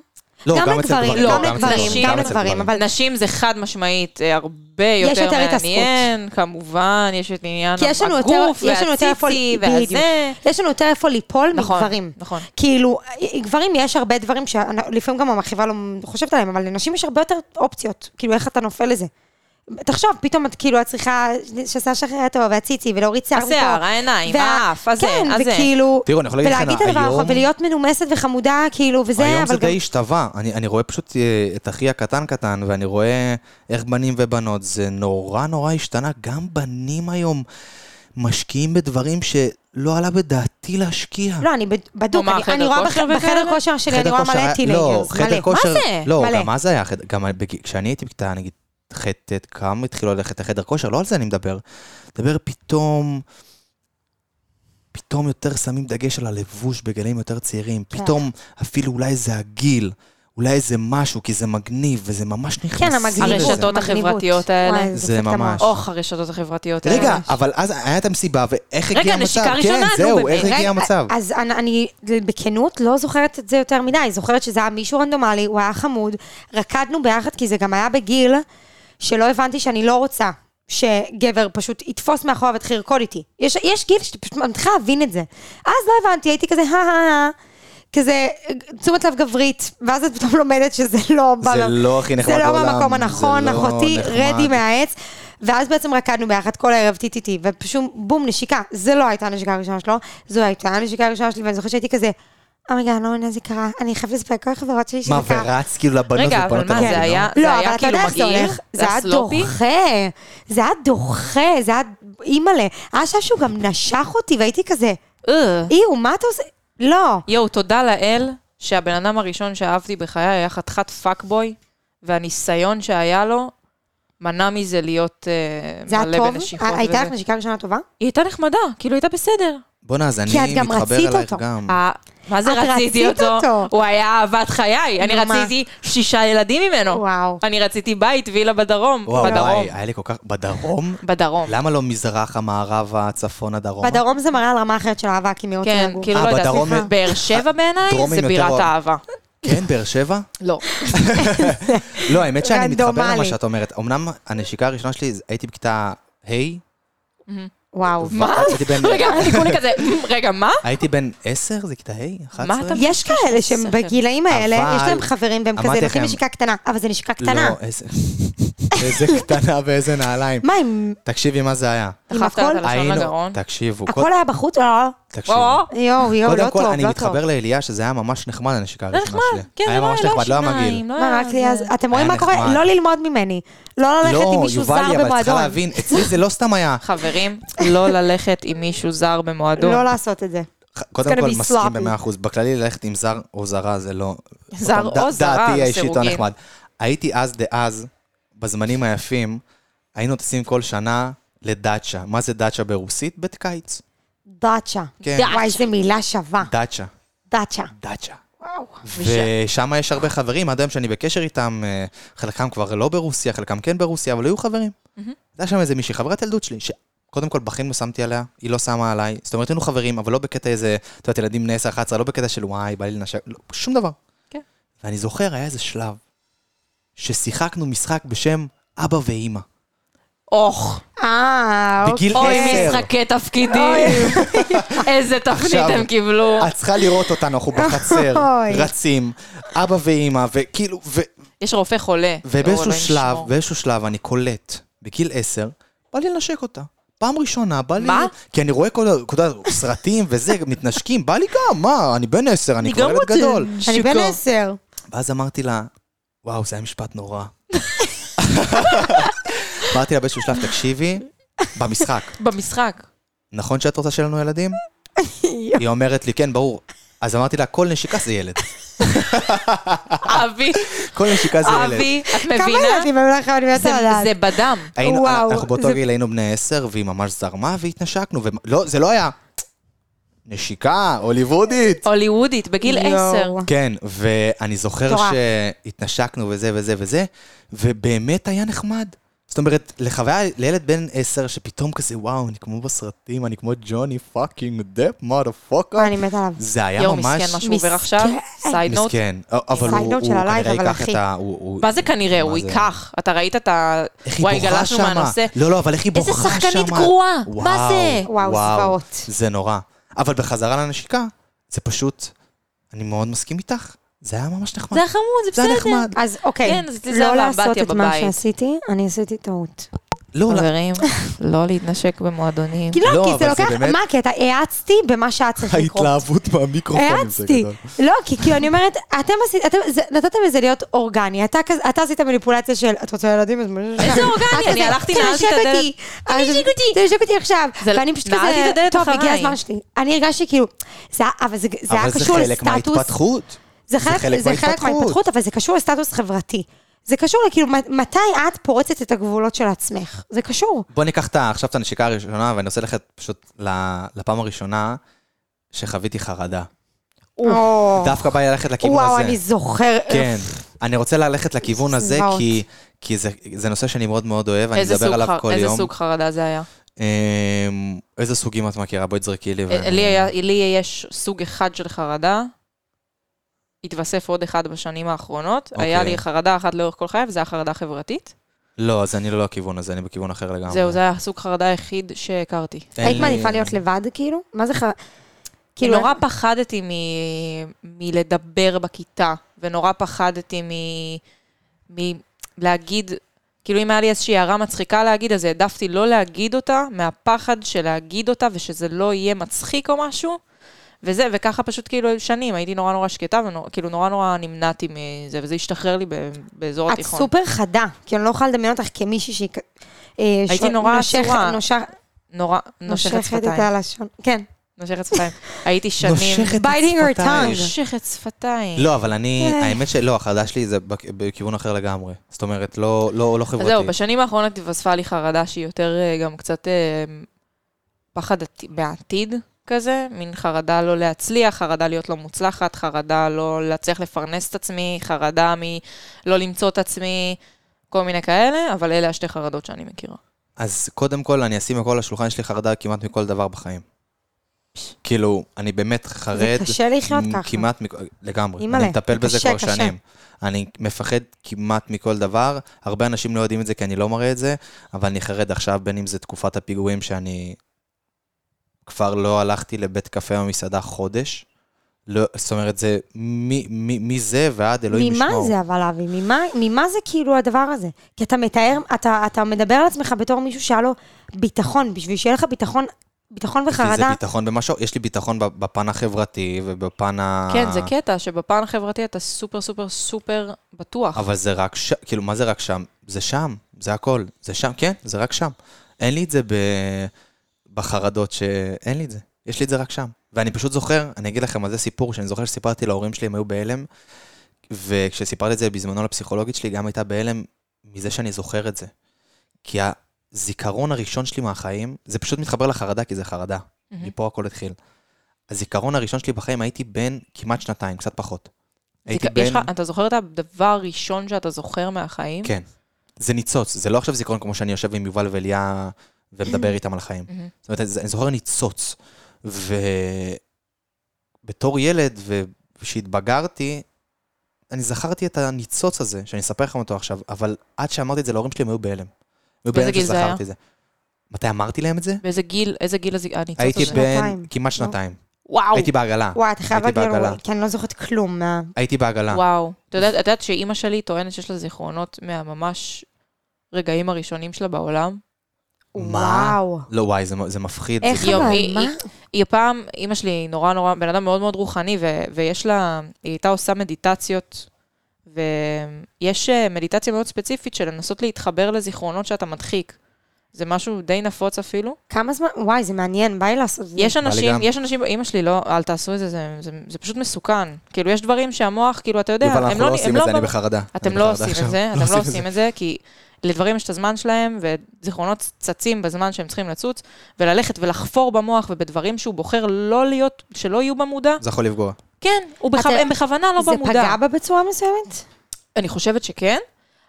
לא,
גם
אצל
לגברים,
גברים,
לא,
גם
גם
אצל
לגברים,
גברים,
גם
אצל
לגברים,
גברים.
אבל-
נשים זה חד משמעית אה, הרבה יותר,
יותר התעסקות.
מעניין, כמובן, יש את עניין
כי יש לנו יותר-
הגוף,
יש לנו יותר איפה-
והציצי,
בדיוק.
והזה.
יש לנו יותר איפה ליפול
נכון,
מגברים.
נכון.
כאילו, גברים יש הרבה דברים שלפעמים גם המחשבה לא חושבת עליהם, אבל לנשים יש הרבה יותר אופציות, כאילו איך אתה נופל לזה. תחשוב, פתאום את כאילו, את צריכה שסע שחרר טוב, והציצי, ולהוריד שיער מפה.
השיער, העיניים, אה,
וה-
האף, הזה,
כן,
הזה.
וכאילו...
תראו, אני יכול להגיד לכם,
ולהגיד את הדבר
היום-
האחרון, ולהיות מנומסת וחמודה, כאילו, וזה, אבל גם...
היום זה די השתווה, אני אני רואה פשוט אה, את אחי הקטן קטן, ואני רואה איך בנים ובנות, זה נורא נורא השתנה, גם בנים היום משקיעים בדברים שלא עלה בדעתי להשקיע.
לא, אני בד- בדוק,
מה,
אני-
חדר
אני רואה
כושר
בח- בחדר
וכאלה?
כושר שלי, אני רואה
כושר
מלא
היה-
טינגרס,
לא, חדר
מלא.
כושר...
מה זה?
לא,
מלא.
גם מה זה היה? חדר- גם בג- כשאני הייתי בכיתה, נגיד, ח'-ט', כמה התחילו ללכת לחדר כושר? לא על זה אני מדבר. מדבר פתאום... פתאום יותר שמים דגש על הלבוש בגלים יותר צעירים. פתאום אפילו אולי זה הגיל, אולי זה משהו, כי זה מגניב, וזה ממש נכנסים
כן, המגניבות.
לזה.
הרשתות
המגניבות.
החברתיות האלה.
וואי,
זה
דופק את המוח.
ממש.
אוח, הרשתות החברתיות האלה.
רגע, אבל אז היה את המסיבה, ואיך
כן. רגע,
הגיע המצב?
נשיקה ראשונה,
כן,
נו,
זהו,
באמת.
איך
רגע, אה,
הגיע המצב?
אז אני, אני בכנות לא זוכרת את זה יותר מדי, זוכרת שזה היה מישהו רנדומלי, הוא היה חמוד, רקדנו ביחד, כי זה גם היה בגיל שלא הבנתי שאני לא רוצה שגבר פשוט יתפוס מאחורה ויתחיל לרקוד איתי. יש, יש גיל שאתה פשוט מתחילה להבין את זה. אז לא הבנתי, הייתי כזה, הא הא הא, כזה תשומת לב גברית, ואז את פתאום לומדת שזה לא... בא
זה
לה-
לא הכי נחמד
זה לא
בעולם,
במקום
זה
הנכון,
לא
אחותי,
נחמד.
רדי מהעץ. ואז בעצם רקדנו ביחד כל הערב טיטיטי, ופשוט בום, נשיקה. זה לא הייתה הנשיקה הראשונה שלו, זו הייתה הנשיקה הראשונה שלי, ואני זוכרת שהייתי כזה, אומייגה, אני לא מבינה זה קרה, אני חייבת לספר לכל החברות שלי שזה
מה,
קרה.
ורץ כאילו לבנות
רגע, אבל
ובנות
מה,
על
זה
זה,
היה
נו?
לא,
היה
אבל אתה
כאילו
יודע איך זה
מגעיל?
הולך,
זה
זה היה
הסלופי?
דוחה, זה היה דוחה, זה היה, אימא'לה. היה שם שהוא גם נשך אותי, והייתי כזה,
אה,
איו, מה אתה עושה? לא.
יואו, תודה לאל שהבן אדם הראשון שאהבתי בחיי היה חתיכת פאקבוי, והניסיון שהיה לו מנע מזה להיות אה,
זה היה
מלא
טוב?
בנשיכות.
ה- הייתה
וזה. אוקיי.
לך נשיקה ראשונה טובה?
היא הייתה נחמדה, כאילו הייתה בסדר.
בואנה, אז אני
כי את גם
מתחבר
רצית
אלייך
אותו.
גם.
אה, מה זה
את
רציתי
רצית
אותו?
אותו.
הוא היה אהבת חיי, אני
נו, מה?
רציתי שישה ילדים ממנו.
וואו.
אני רציתי בית, וילה בדרום.
וואו,
בדרום.
וואי, היה לי כל כך... בדרום?
בדרום.
למה לא מזרח, המערב, הצפון, הדרום?
בדרום זה מראה על רמה אחרת של אהבה, כי מיעוט
כן,
נהגו.
כאילו
אה,
לא יודעת.
בדרום-
סליחה. באר שבע בעיניי
דרומים
זה
יותר
בירת
אוהב.
האהבה.
כן, באר שבע?
לא.
לא, האמת שאני מתחבר למה
רנדומלי.
שאת אומרת. אמנם הנשיקה הראשונה שלי, זה- הייתי בכיתה ה',
וואו.
מה? הייתי
(laughs)
בן-
רגע, אני כולי כזה, "מ, רגע, מה?
הייתי בן 10? זה כיתה ה'? 11?
אתה
יש כאלה שהם
שכל.
בגילאים האלה,
אבל-
יש להם חברים והם
אמרתי
כזה נותנים
לכם-
נשיקה קטנה, אבל זה נשיקה קטנה.
לא, איזה... (laughs) איזה קטנה ואיזה נעליים.
מה, אם
תקשיבי מה זה היה.
עם
דחפת
הכל?
על הלשון לגרון.
תקשיבו, קוד-
הכל היה בחוץ? לא.
תקשיבו.
וואו.
יואו, יואו, לא
קודם כל,
טוב,
אני
לא טוב.
מתחבר לאליה, שזה היה ממש נחמד, הנשיקה
זה
הראשונה
נחמד.
שלי.
כן, זה
היה ממש נחמד, לא היה מגעיל.
אה,
מה, רק לי אז, אתם רואים
היה
מה קורה?
נחמד.
לא ללמוד ממני. לא ללכת עם מישהו זר
לא, יובלי, אבל את צריכה
במועדון.
להבין, אצלי זה לא סתם
(laughs)
היה...
חברים, לא ללכת עם מישהו זר במועדון.
לא לעשות את זה.
קודם
gonna
כל,
be sloppy.
מסכים במאה אחוז. בכללי, ללכת עם זר או זרה זה לא...
זר
עוד פעם,
או
ד-
זרה,
דעתי האישית לא
לסירוגין.
נחמד. הייתי אז דאז, בזמנים היפים, היינו טסים כל שנה לדאצ'ה. מה זה דאצ'ה ברוסית? בית קיץ.
דאצ'ה.
כן.
וואי, איזה מילה שווה.
דאצ'ה.
דאצ'ה.
דאצ'ה.
וואו.
ושם יש הרבה חברים, עד היום שאני בקשר איתם, אה, חלקם כבר לא ברוסיה, חלקם כן ברוסיה, אבל היו חברים. היה שם איזה מישהי, חברת ילדות שלי, שקודם כל בחיים לא שמתי עליה, היא לא שמה עליי. זאת אומרת, היינו חברים, אבל לא בקטע איזה, את יודעת, ילדים בני 10-11, לא בקטע של וואי, בא לי לנשק, לא, שום דבר.
כן.
ואני זוכר, היה איזה שלב, ששיחקנו משחק בשם אבא ואימא.
אוך,
אה, אוקיי.
בגיל
אוי,
עשר.
משחקי תפקידים. איזה תפנית
עכשיו, אה-
הם קיבלו.
את צריכה לראות אותנו, אנחנו בחצר,
אוי.
רצים, אבא ואימא, וכאילו, ו-
יש רופא חולה. לא,
ובאיזשהו
אלוהים
שלב,
ישמור.
באיזשהו שלב אני קולט, בגיל עשר, בא לי לנשק אותה. פעם ראשונה, בא לי...
מה?
כי אני רואה כל ה- כל ה- סרטים וזה, (laughs) מתנשקים, בא לי גם, מה, אני בן עשר, אני
אני
כבר
גם
ילד
רוצה
גדול.
אני בן
שיקו. (laughs)
עשר.
ואז אמרתי לה, וואו, זה היה משפט נורא. אמרתי לה באיזשהו שלב, תקשיבי, במשחק, (laughs)
במשחק.
נכון שאת רוצה שיהיו לנו ילדים? היא אומרת לי, כן, ברור. אז אמרתי לה, כל נשיקה זה ילד.
אבי,
כל נשיקה זה ילד.
אבי, את
כמה
מבינה?
ילדים היו לכם? אני מנסה
זה-
לדעת.
זה בדם.
היינו,
וואו,
אנחנו באותו
זה-
גיל היינו בני עשר, והיא ממש זרמה והתנשקנו, ולא, זה לא היה נשיקה, הוליוודית.
הוליוודית, בגיל
יואו.
עשר.
כן, ואני זוכר
מטורף.
שהתנשקנו וזה וזה וזה, ובאמת היה נחמד. זאת אומרת, לחוויה לילד בן עשר שפתאום כזה, וואו, אני כמו בסרטים, אני כמו ג'וני פאקינג דפ, מודה פאקר.
וואי, אני מתה עליו.
זה היה
יואו,
ממש...
מסכן מה שהוא עובר עכשיו. סייד נוט.
מסכן. אבל
Side
הוא
note
הוא
של הלייב,
כנראה
אבל
ייקח
אחי.
את ה... הוא- הוא-
מה זה כנראה? הוא
זה?
ייקח. אתה ראית את ה...
איך היא בוכה
גלשנו
שמה?
מהנושא.
לא, לא, אבל איך היא
איזה
בוכה שמה?
שחקנית גרועה, מה
וואו,
זה?
וואו, זוועות.
זה נורא. אבל בחזרה לנשיקה, זה פשוט, אני מאוד מסכים איתך, זה היה ממש נחמד.
זה היה חמוד, זה
זה היה
בסדר.
נחמד.
אז אוקיי,
כן, אז זה
לא
על
לעשות
האמבטיה
את מה
בבית.
שעשיתי, אני עשיתי טעות.
לא,
(laughs)
לא,
חברים, (laughs) לא להתנשק במועדונים.
כי
לא,
לא, כי זה
אבל זה
לוקח,
באמת-
מה, כי אתה האצתי במה שהיה צריך לקרות.
מהמיקרופון
האצתי. לא, כי כאילו אני אומרת, אתם עשיתם, אתם- זה- נתתם לזה להיות אורגני. אתה כזה- אתה עשית מניפולציה של, את רוצה (laughs) ילדים?
(laughs) איזה אורגני, אני הלכתי, נעלתי את הדלת.
תנשק כן, אותי. תנשק אותי עכשיו.
זה-
ואני פשוט
נעלתי
כזה,
את הדלת
טוב, הגיע
אחריי.
הזמן שלי. אני הרגשתי כאילו, זה היה- אבל זה זה היה
אבל זה
קשור
חלק
לסטטוס.
מההתפתחות.
זה חלק, זה חלק מההתפתחות, אבל זה קשור לסטטוס חברתי. זה קשור לכאילו, מת- מתי את פורצת את הגבולות של עצמך? זה קשור.
בוא ניקח את ה- עכשיו את הנשיקה הראשונה, ואני רוצה ללכת פשוט ל- לפעם הראשונה שחוויתי חרדה.
או.
דווקא בא לי ללכת לכיוון הזה.
וואו, אני זוכר.
כאילו,
אה,
כן. אני רוצה ללכת לכיוון הזה,
זוועות.
כי, כי זה, זה נושא שאני מאוד מאוד אוהב, אני
איזה
מדבר
סוג
עליו
חר-
כל
איזה
יום.
סוג חרדה זה היה?
אמ, איזה סוגים את מכירה? בואי תזרקי לי. ואני-
אה, לי היה- לי יש סוג אחד של חרדה, התווסף עוד אחד בשנים האחרונות.
אוקיי.
היה לי חרדה אחת לאורך כל חיי, וזו הייתה חרדה חברתית.
לא, אז אני לא הכיוון הזה, אני בכיוון אחר לגמרי.
זהו, זה היה הסוג חרדה היחיד שהכרתי.
אין
היית
לי-
מעדיפה להיות לבד, כאילו? מה זה ח...
כאילו,
כאילו,
נורא פחדתי מ... מלדבר בכיתה, ונורא פחדתי מ... מ... להגיד, כאילו אם היה לי איזושהי הערה מצחיקה להגיד, אז העדפתי לא להגיד אותה, מהפחד של להגיד אותה, ושזה לא יהיה מצחיק או משהו, וזה, וככה פשוט כאילו שנים, הייתי נורא נורא שקטה, וכאילו נורא נורא נמנעתי מזה, וזה השתחרר לי ב... באזור
את
התיכון.
סופר חדה, כי אני לא יכולה לדמיין אותך כמישהי שהיא... כ- אה,
הייתי
ש-
נורא
נושכת-
עצורה.
נושכ-
נורא נושכת
נושכת את
שפתיים.
הלשון. כן.
נושכת שפתיים. הייתי שנים...
נושכת את
Biting her
שפתיים.
tongue.
נושכת שפתיים.
לא, אבל אני,
אה.
האמת שלא, החדש שלי זה בכ- בכיוון אחר לגמרי. זאת אומרת, לא- לא לא
אז זהו,
חברתי.
בשנים האחרונות התווספה לי חרדה שהיא יותר אה, גם קצת אה, פחד עתי- מהעתיד כזה, מין חרדה לא להצליח, חרדה להיות לא מוצלחת, חרדה לא להצליח לפרנס את עצמי, חרדה מלא למצוא את עצמי, כל מיני כאלה, אבל אלה השתי חרדות שאני מכירה.
אז קודם כל, אני אשים הכל על השולחן, יש לי חרדה כמעט מכל דבר בחיים. כאילו, אני באמת
זה
חרד
קשה לחיות
מ-
ככה.
כמעט מכ- לגמרי.
אימא'לה,
אני מטפל בזה
קשה,
כבר
קשה.
שנים. אני מפחד כמעט מכל דבר. הרבה אנשים לא יודעים את זה כי אני לא מראה את זה, אבל אני חרד עכשיו, בין אם זה תקופת הפיגועים שאני כבר לא הלכתי לבית קפה או מסעדה חודש. לא, זאת אומרת, זה מי- מי- מזה ועד אלוהים
ממה
ישמעו.
זה אבל, אבי? ממה, ממה זה כאילו הדבר הזה? כי אתה מתאר, אתה, אתה מדבר על עצמך בתור מישהו שהיה לו ביטחון, בשביל שיהיה לך ביטחון, ביטחון
כי זה
וחרדה.
ביטחון במשהו, יש לי ביטחון בפן החברתי ובפן ה...
כן, זה קטע שבפן החברתי אתה סופר סופר סופר בטוח.
אבל זה רק שם, כאילו, מה זה רק שם? זה שם, זה הכל. זה שם, כן, זה רק שם. אין לי את זה ב... בחרדות ש... אין לי את זה. יש לי את זה רק שם. ואני פשוט זוכר, אני אגיד לכם על זה סיפור, שאני זוכר שסיפרתי להורים שלי, הם היו בהלם, וכשסיפרתי את זה בזמנו לפסיכולוגית שלי, היא גם הייתה בהלם מזה שאני זוכר את זה. כי הזיכרון הראשון שלי מהחיים, זה פשוט מתחבר לחרדה, כי זה חרדה.
מהמם.
מפה הכל התחיל. הזיכרון הראשון שלי בחיים, הייתי בן כמעט שנתיים, קצת פחות. הייתי
זיכ- יש לך- אתה זוכר את הדבר הראשון שאתה זוכר מהחיים?
כן. זה ניצוץ, זה לא עכשיו זיכרון כמו שאני יושב עם יובל ואליה
(clears throat)
ומדבר איתם על החיים.
מהמם.
זאת אומרת, זה- אני זוכר ניצוץ. ובתור ילד, וכשהתבגרתי, אני זכרתי את הניצוץ הזה, שאני אספר לכם אותו עכשיו, אבל עד שאמרתי את זה להורים שלי, הם היו בהלם. הם היו
באיזה
בהלם
גיל זה היה?
שזכרתי את זה. מתי אמרתי להם את זה?
באיזה גיל, איזה גיל הזיק- הניצוץ
הייתי
הזה?
בן
שנתיים.
כמעט שנתיים.
וואו.
הייתי בעגלה.
וואי, אתה חייב
הייתי
להגיד
בעגלה.
לנו, כי אני לא זוכרת כלום מה...
הייתי בעגלה.
וואו. אתה יודעת- את יודעת שאימא שלי טוענת שיש לה זיכרונות מהממש רגעים הראשונים שלה בעולם?
מה?
וואו.
לא, וואי, זה מ- זה מפחיד. זה
איך
כאילו-
יום,
אבל,
היא-
מה?
היא- היא פעם, אימא שלי היא נורא נורא, בן אדם מאוד מאוד רוחני, ו, ויש לה, היא הייתה עושה מדיטציות, ויש אה, מדיטציה מאוד ספציפית של לנסות להתחבר לזיכרונות שאתה מדחיק. זה משהו די נפוץ אפילו.
כמה זמן? וואי, זה מעניין, בא לי לעשות את זה.
יש
לי
אנשים,
גם.
יש אנשים, אימא שלי, לא, אל תעשו את זה, זה, זה, זה פשוט מסוכן. כאילו, יש דברים שהמוח, כאילו, אתה יודע,
יובל,
הם
אנחנו
לא,
לא
הם
עושים
לא
את זה, אני
ב-
בחרדה.
אתם
אני בחרדה
לא עושים
עכשיו.
את זה, אתם לא עושים את זה, כי לדברים יש את הזמן שלהם, וזיכרונות צצים בזמן שהם צריכים לצוץ, וללכת ולחפור במוח ובדברים שהוא בוחר לא להיות, שלא יהיו במודע,
זה יכול לפגוע.
כן, הוא בכו...
אתה-
הם בכוונה לא
זה
במודע.
פגע בה בצורה מסוימת?
אני חושבת שכן.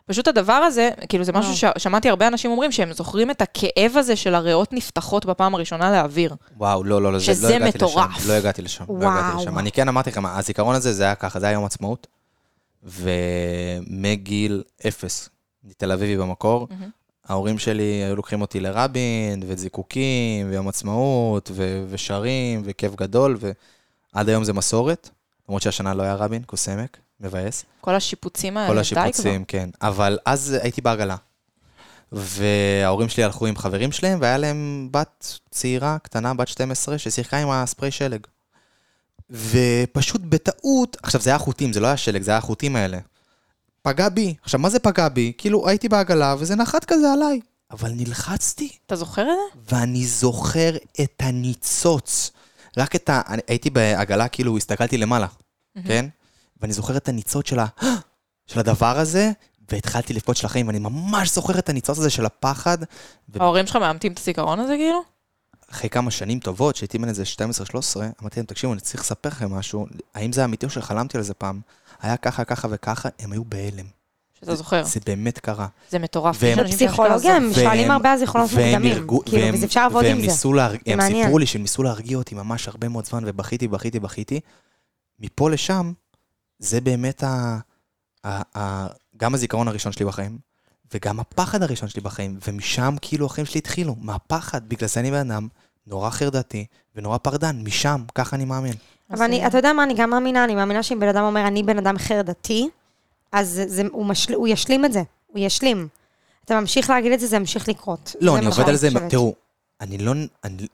פשוט הדבר הזה, כאילו זה משהו ששמעתי הרבה אנשים אומרים שהם זוכרים את הכאב הזה של הריאות נפתחות בפעם הראשונה לאוויר.
וואו, לא, לא, לא, זה-
שזה
לא הגעתי
מטורף.
לשם. לא הגעתי לשם. לא הגעתי
וואו.
לשם. אני כן אמרתי לכם, הזיכרון הזה, זה היה ככה, זה היה יום עצמאות. ומגיל אפס, אני תל אביבי במקור,
מהמם.
ההורים שלי היו לוקחים אותי לרבין, וזיקוקים, ויום עצמאות, ו- ושרים, וכיף גדול, ועד היום זה מסורת. למרות שהשנה לא היה רבין, קוסמק, מבאס.
כל השיפוצים האלה,
כל
די כבר.
השיפוצים, כן. אבל אז הייתי בעגלה. וההורים שלי הלכו עם חברים שלהם, והיה להם בת צעירה, קטנה, בת 12, ששיחקה עם הספרי שלג. ופשוט בטעות, עכשיו זה היה חוטים, זה לא היה שלג, זה היה החוטים האלה. פגע בי. עכשיו, מה זה פגע בי? כאילו, הייתי בעגלה, וזה נחת כזה עליי. אבל נלחצתי.
אתה זוכר את זה?
ואני זוכר את הניצוץ. רק את ה... אני, הייתי בעגלה, כאילו, הסתכלתי למעלה, כן? ואני זוכר את הניצוץ של, ה... (gasps) של הדבר הזה, והתחלתי לבכות שלכם, ואני ממש זוכר את הניצוץ הזה של הפחד.
ההורים שלך מאמתים את הזיכרון הזה כאילו?
אחרי כמה שנים טובות, שהייתי בן איזה 12-13, אמרתי להם, תקשיבו, אני צריך לספר לכם משהו, האם זה אמיתי או שחלמתי על זה פעם? היה ככה, ככה וככה, הם היו בהלם.
שאתה זוכר.
זה באמת קרה.
זה מטורף.
והם-
יש אנשים לא
פסיכולוגיה,
שאשכרה
הם
והם-
שואלים הרבה על זיכרונות
והם
מוקדמים.
נרגו,
כאילו,
והם,
וזה אפשר לעבוד
והם
עם זה.
ניסו להרג... הם
מעניין.
סיפרו לי שהם ניסו להרגיע אותי ממש הרבה מאוד זמן, ובכיתי, בכיתי, בכיתי. מפה לשם, זה באמת ה... ה... ה... גם הזיכרון הראשון שלי בחיים, וגם הפחד הראשון שלי בחיים, ומשם כאילו החיים שלי התחילו, מהפחד, בגלל זה אני בן אדם נורא חרדתי ונורא פחדן, משם, ככה אני מאמין.
זה.
אבל אני, אתה יודע מה, אני גם מאמינה, אני מאמינה שאם בן אדם אומר, אני בן אדם חרדתי, אז זה- זה, הוא, משל, הוא ישלים את זה, הוא ישלים. אתה ממשיך להגיד את זה, זה ימשיך לקרות.
לא, אני
מה
עובד על זה,
חושבת.
תראו, אני לא... אני...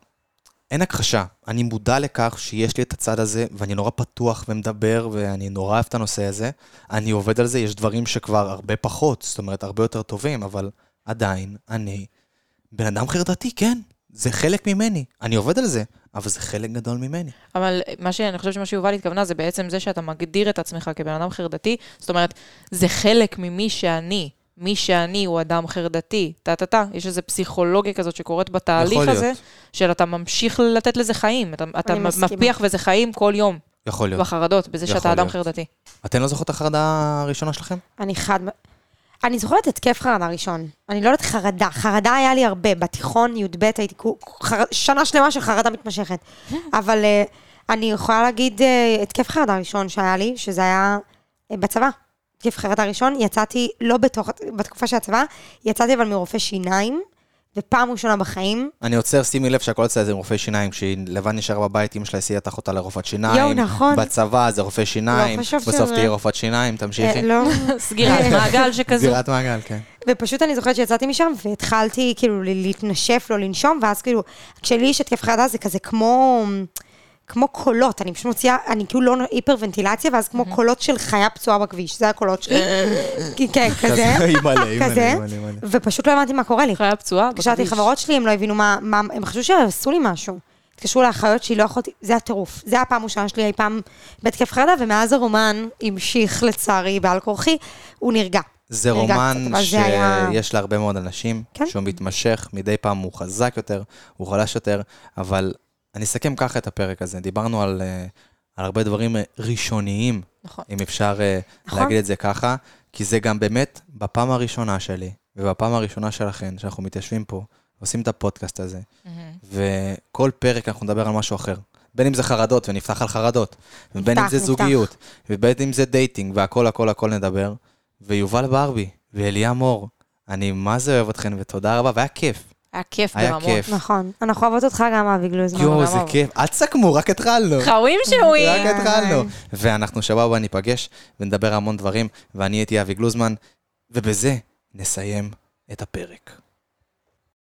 אין הכחשה, אני מודע לכך שיש לי את הצד הזה, ואני נורא פתוח ומדבר, ואני נורא אוהב את הנושא הזה. אני עובד על זה, יש דברים שכבר הרבה פחות, זאת אומרת, הרבה יותר טובים, אבל עדיין, אני בן אדם חרדתי, כן, זה חלק ממני, אני עובד על זה. אבל זה חלק גדול ממני.
אבל מה ש... אני חושבת שמה שיובל התכוונה זה בעצם זה שאתה מגדיר את עצמך כבן אדם חרדתי, זאת אומרת, זה חלק ממי שאני. מי שאני הוא אדם חרדתי, טה-טה-טה. יש איזו פסיכולוגיה כזאת שקורית בתהליך
יכול
הזה,
להיות.
של אתה ממשיך לתת לזה חיים. אתה, אתה
אני מסכימה.
מפיח וזה חיים כל יום,
יכול להיות.
בחרדות, בזה
יכול
שאתה אדם
להיות.
חרדתי. (laughs)
אתן לא זוכרות את החרדה הראשונה שלכם?
אני חד... אני זוכרת התקף חרדה ראשון. אני לא יודעת חרדה. חרדה היה לי הרבה. בתיכון, י"ב, הייתי כו- חר... שנה שלמה של חרדה מתמשכת. אבל אה, אני יכולה להגיד אה, התקף חרדה ראשון שהיה לי, שזה היה אה, בצבא. התקף חרדה ראשון, יצאתי לא בתוך... בתקופה של הצבא, יצאתי אבל מרופא שיניים, ופעם ראשונה בחיים.
אני עוצר, שימי לב שהכל אצלה זה עם רופאי שיניים, כשהיא לבד נשארה בבית, אמא שלה הסיעה את אחותה לרופאת שיניים.
יואו, נכון.
בצבא זה רופא שיניים.
לא חשבתי על
בסוף
זה.
תהיי רופאת שיניים,
אה,
תמשיכי.
לא...
סגירת מעגל שכזו.
סגירת מעגל, כן.
ופשוט אני זוכרת שיצאתי משם והתחלתי כאילו ל- להתנשף, לא לנשום, ואז כאילו, כשלי יש התקף חרדה זה כזה כמו, כמו קולות, אני פשוט מוציאה, אני כאילו לא היפרוונטילציה, ואז כמו קולות של חיה פצועה בכביש, זה הקולות שלי. כי- כן,
(laughs)
כזה,
אימא'לה, אימא'לה,
כזה,
אימא'לה, אימא'לה.
ופשוט לא הבנתי מה קורה לי.
חיה פצועה,
התקשרתי
בכביש.
לחברות שלי, הם לא הבינו מה, מה הם חשבו שעשו לי משהו. התקשרו לאחיות שלי, לא יכולתי, זה הטירוף. זה הפעם הראשונה שלי אי פעם בהתקף חרדה, ומאז הרומן המשיך לצערי בעל כורחי, הוא נרגע.
זה
נרגע
רומן
קצת, אבל זה היה-
שיש להרבה מאוד אנשים,
כן.
שהוא מתמשך, מדי פעם הוא חזק יותר, הוא חלש יותר, אבל אני אסכם ככה את הפרק הזה. דיברנו על, אה, על הרבה דברים אה, ראשוניים,
נכון.
אם אפשר אה,
נכון.
להגיד את זה ככה, כי זה גם באמת בפעם הראשונה שלי, ובפעם הראשונה שלכן, שאנחנו מתיישבים פה, עושים את הפודקאסט הזה, וכל פרק אנחנו נדבר על משהו אחר. בין אם זה חרדות, ונפתח על חרדות, ובין אם זה
נפתח, נפתח.
זוגיות, ובין אם זה דייטינג, והכל הכל הכל נדבר. ויובל ברבי, ואליה מור, אני מה זה אוהב אתכן, ותודה רבה, והיה כיף.
היה כיף
היה
ברמות.
כיף.
נכון. אנחנו אוהבות אותך גם, אבי גלוזמן.
יואו,
גם
זה
אור.
כיף. אל תסכמו, רק התחלנו.
חאווים שווים.
רק התחלנו. ואנחנו שבוע הבא ניפגש ונדבר המון דברים, ואני הייתי אבי גלוזמן, ובזה נסיים את הפרק.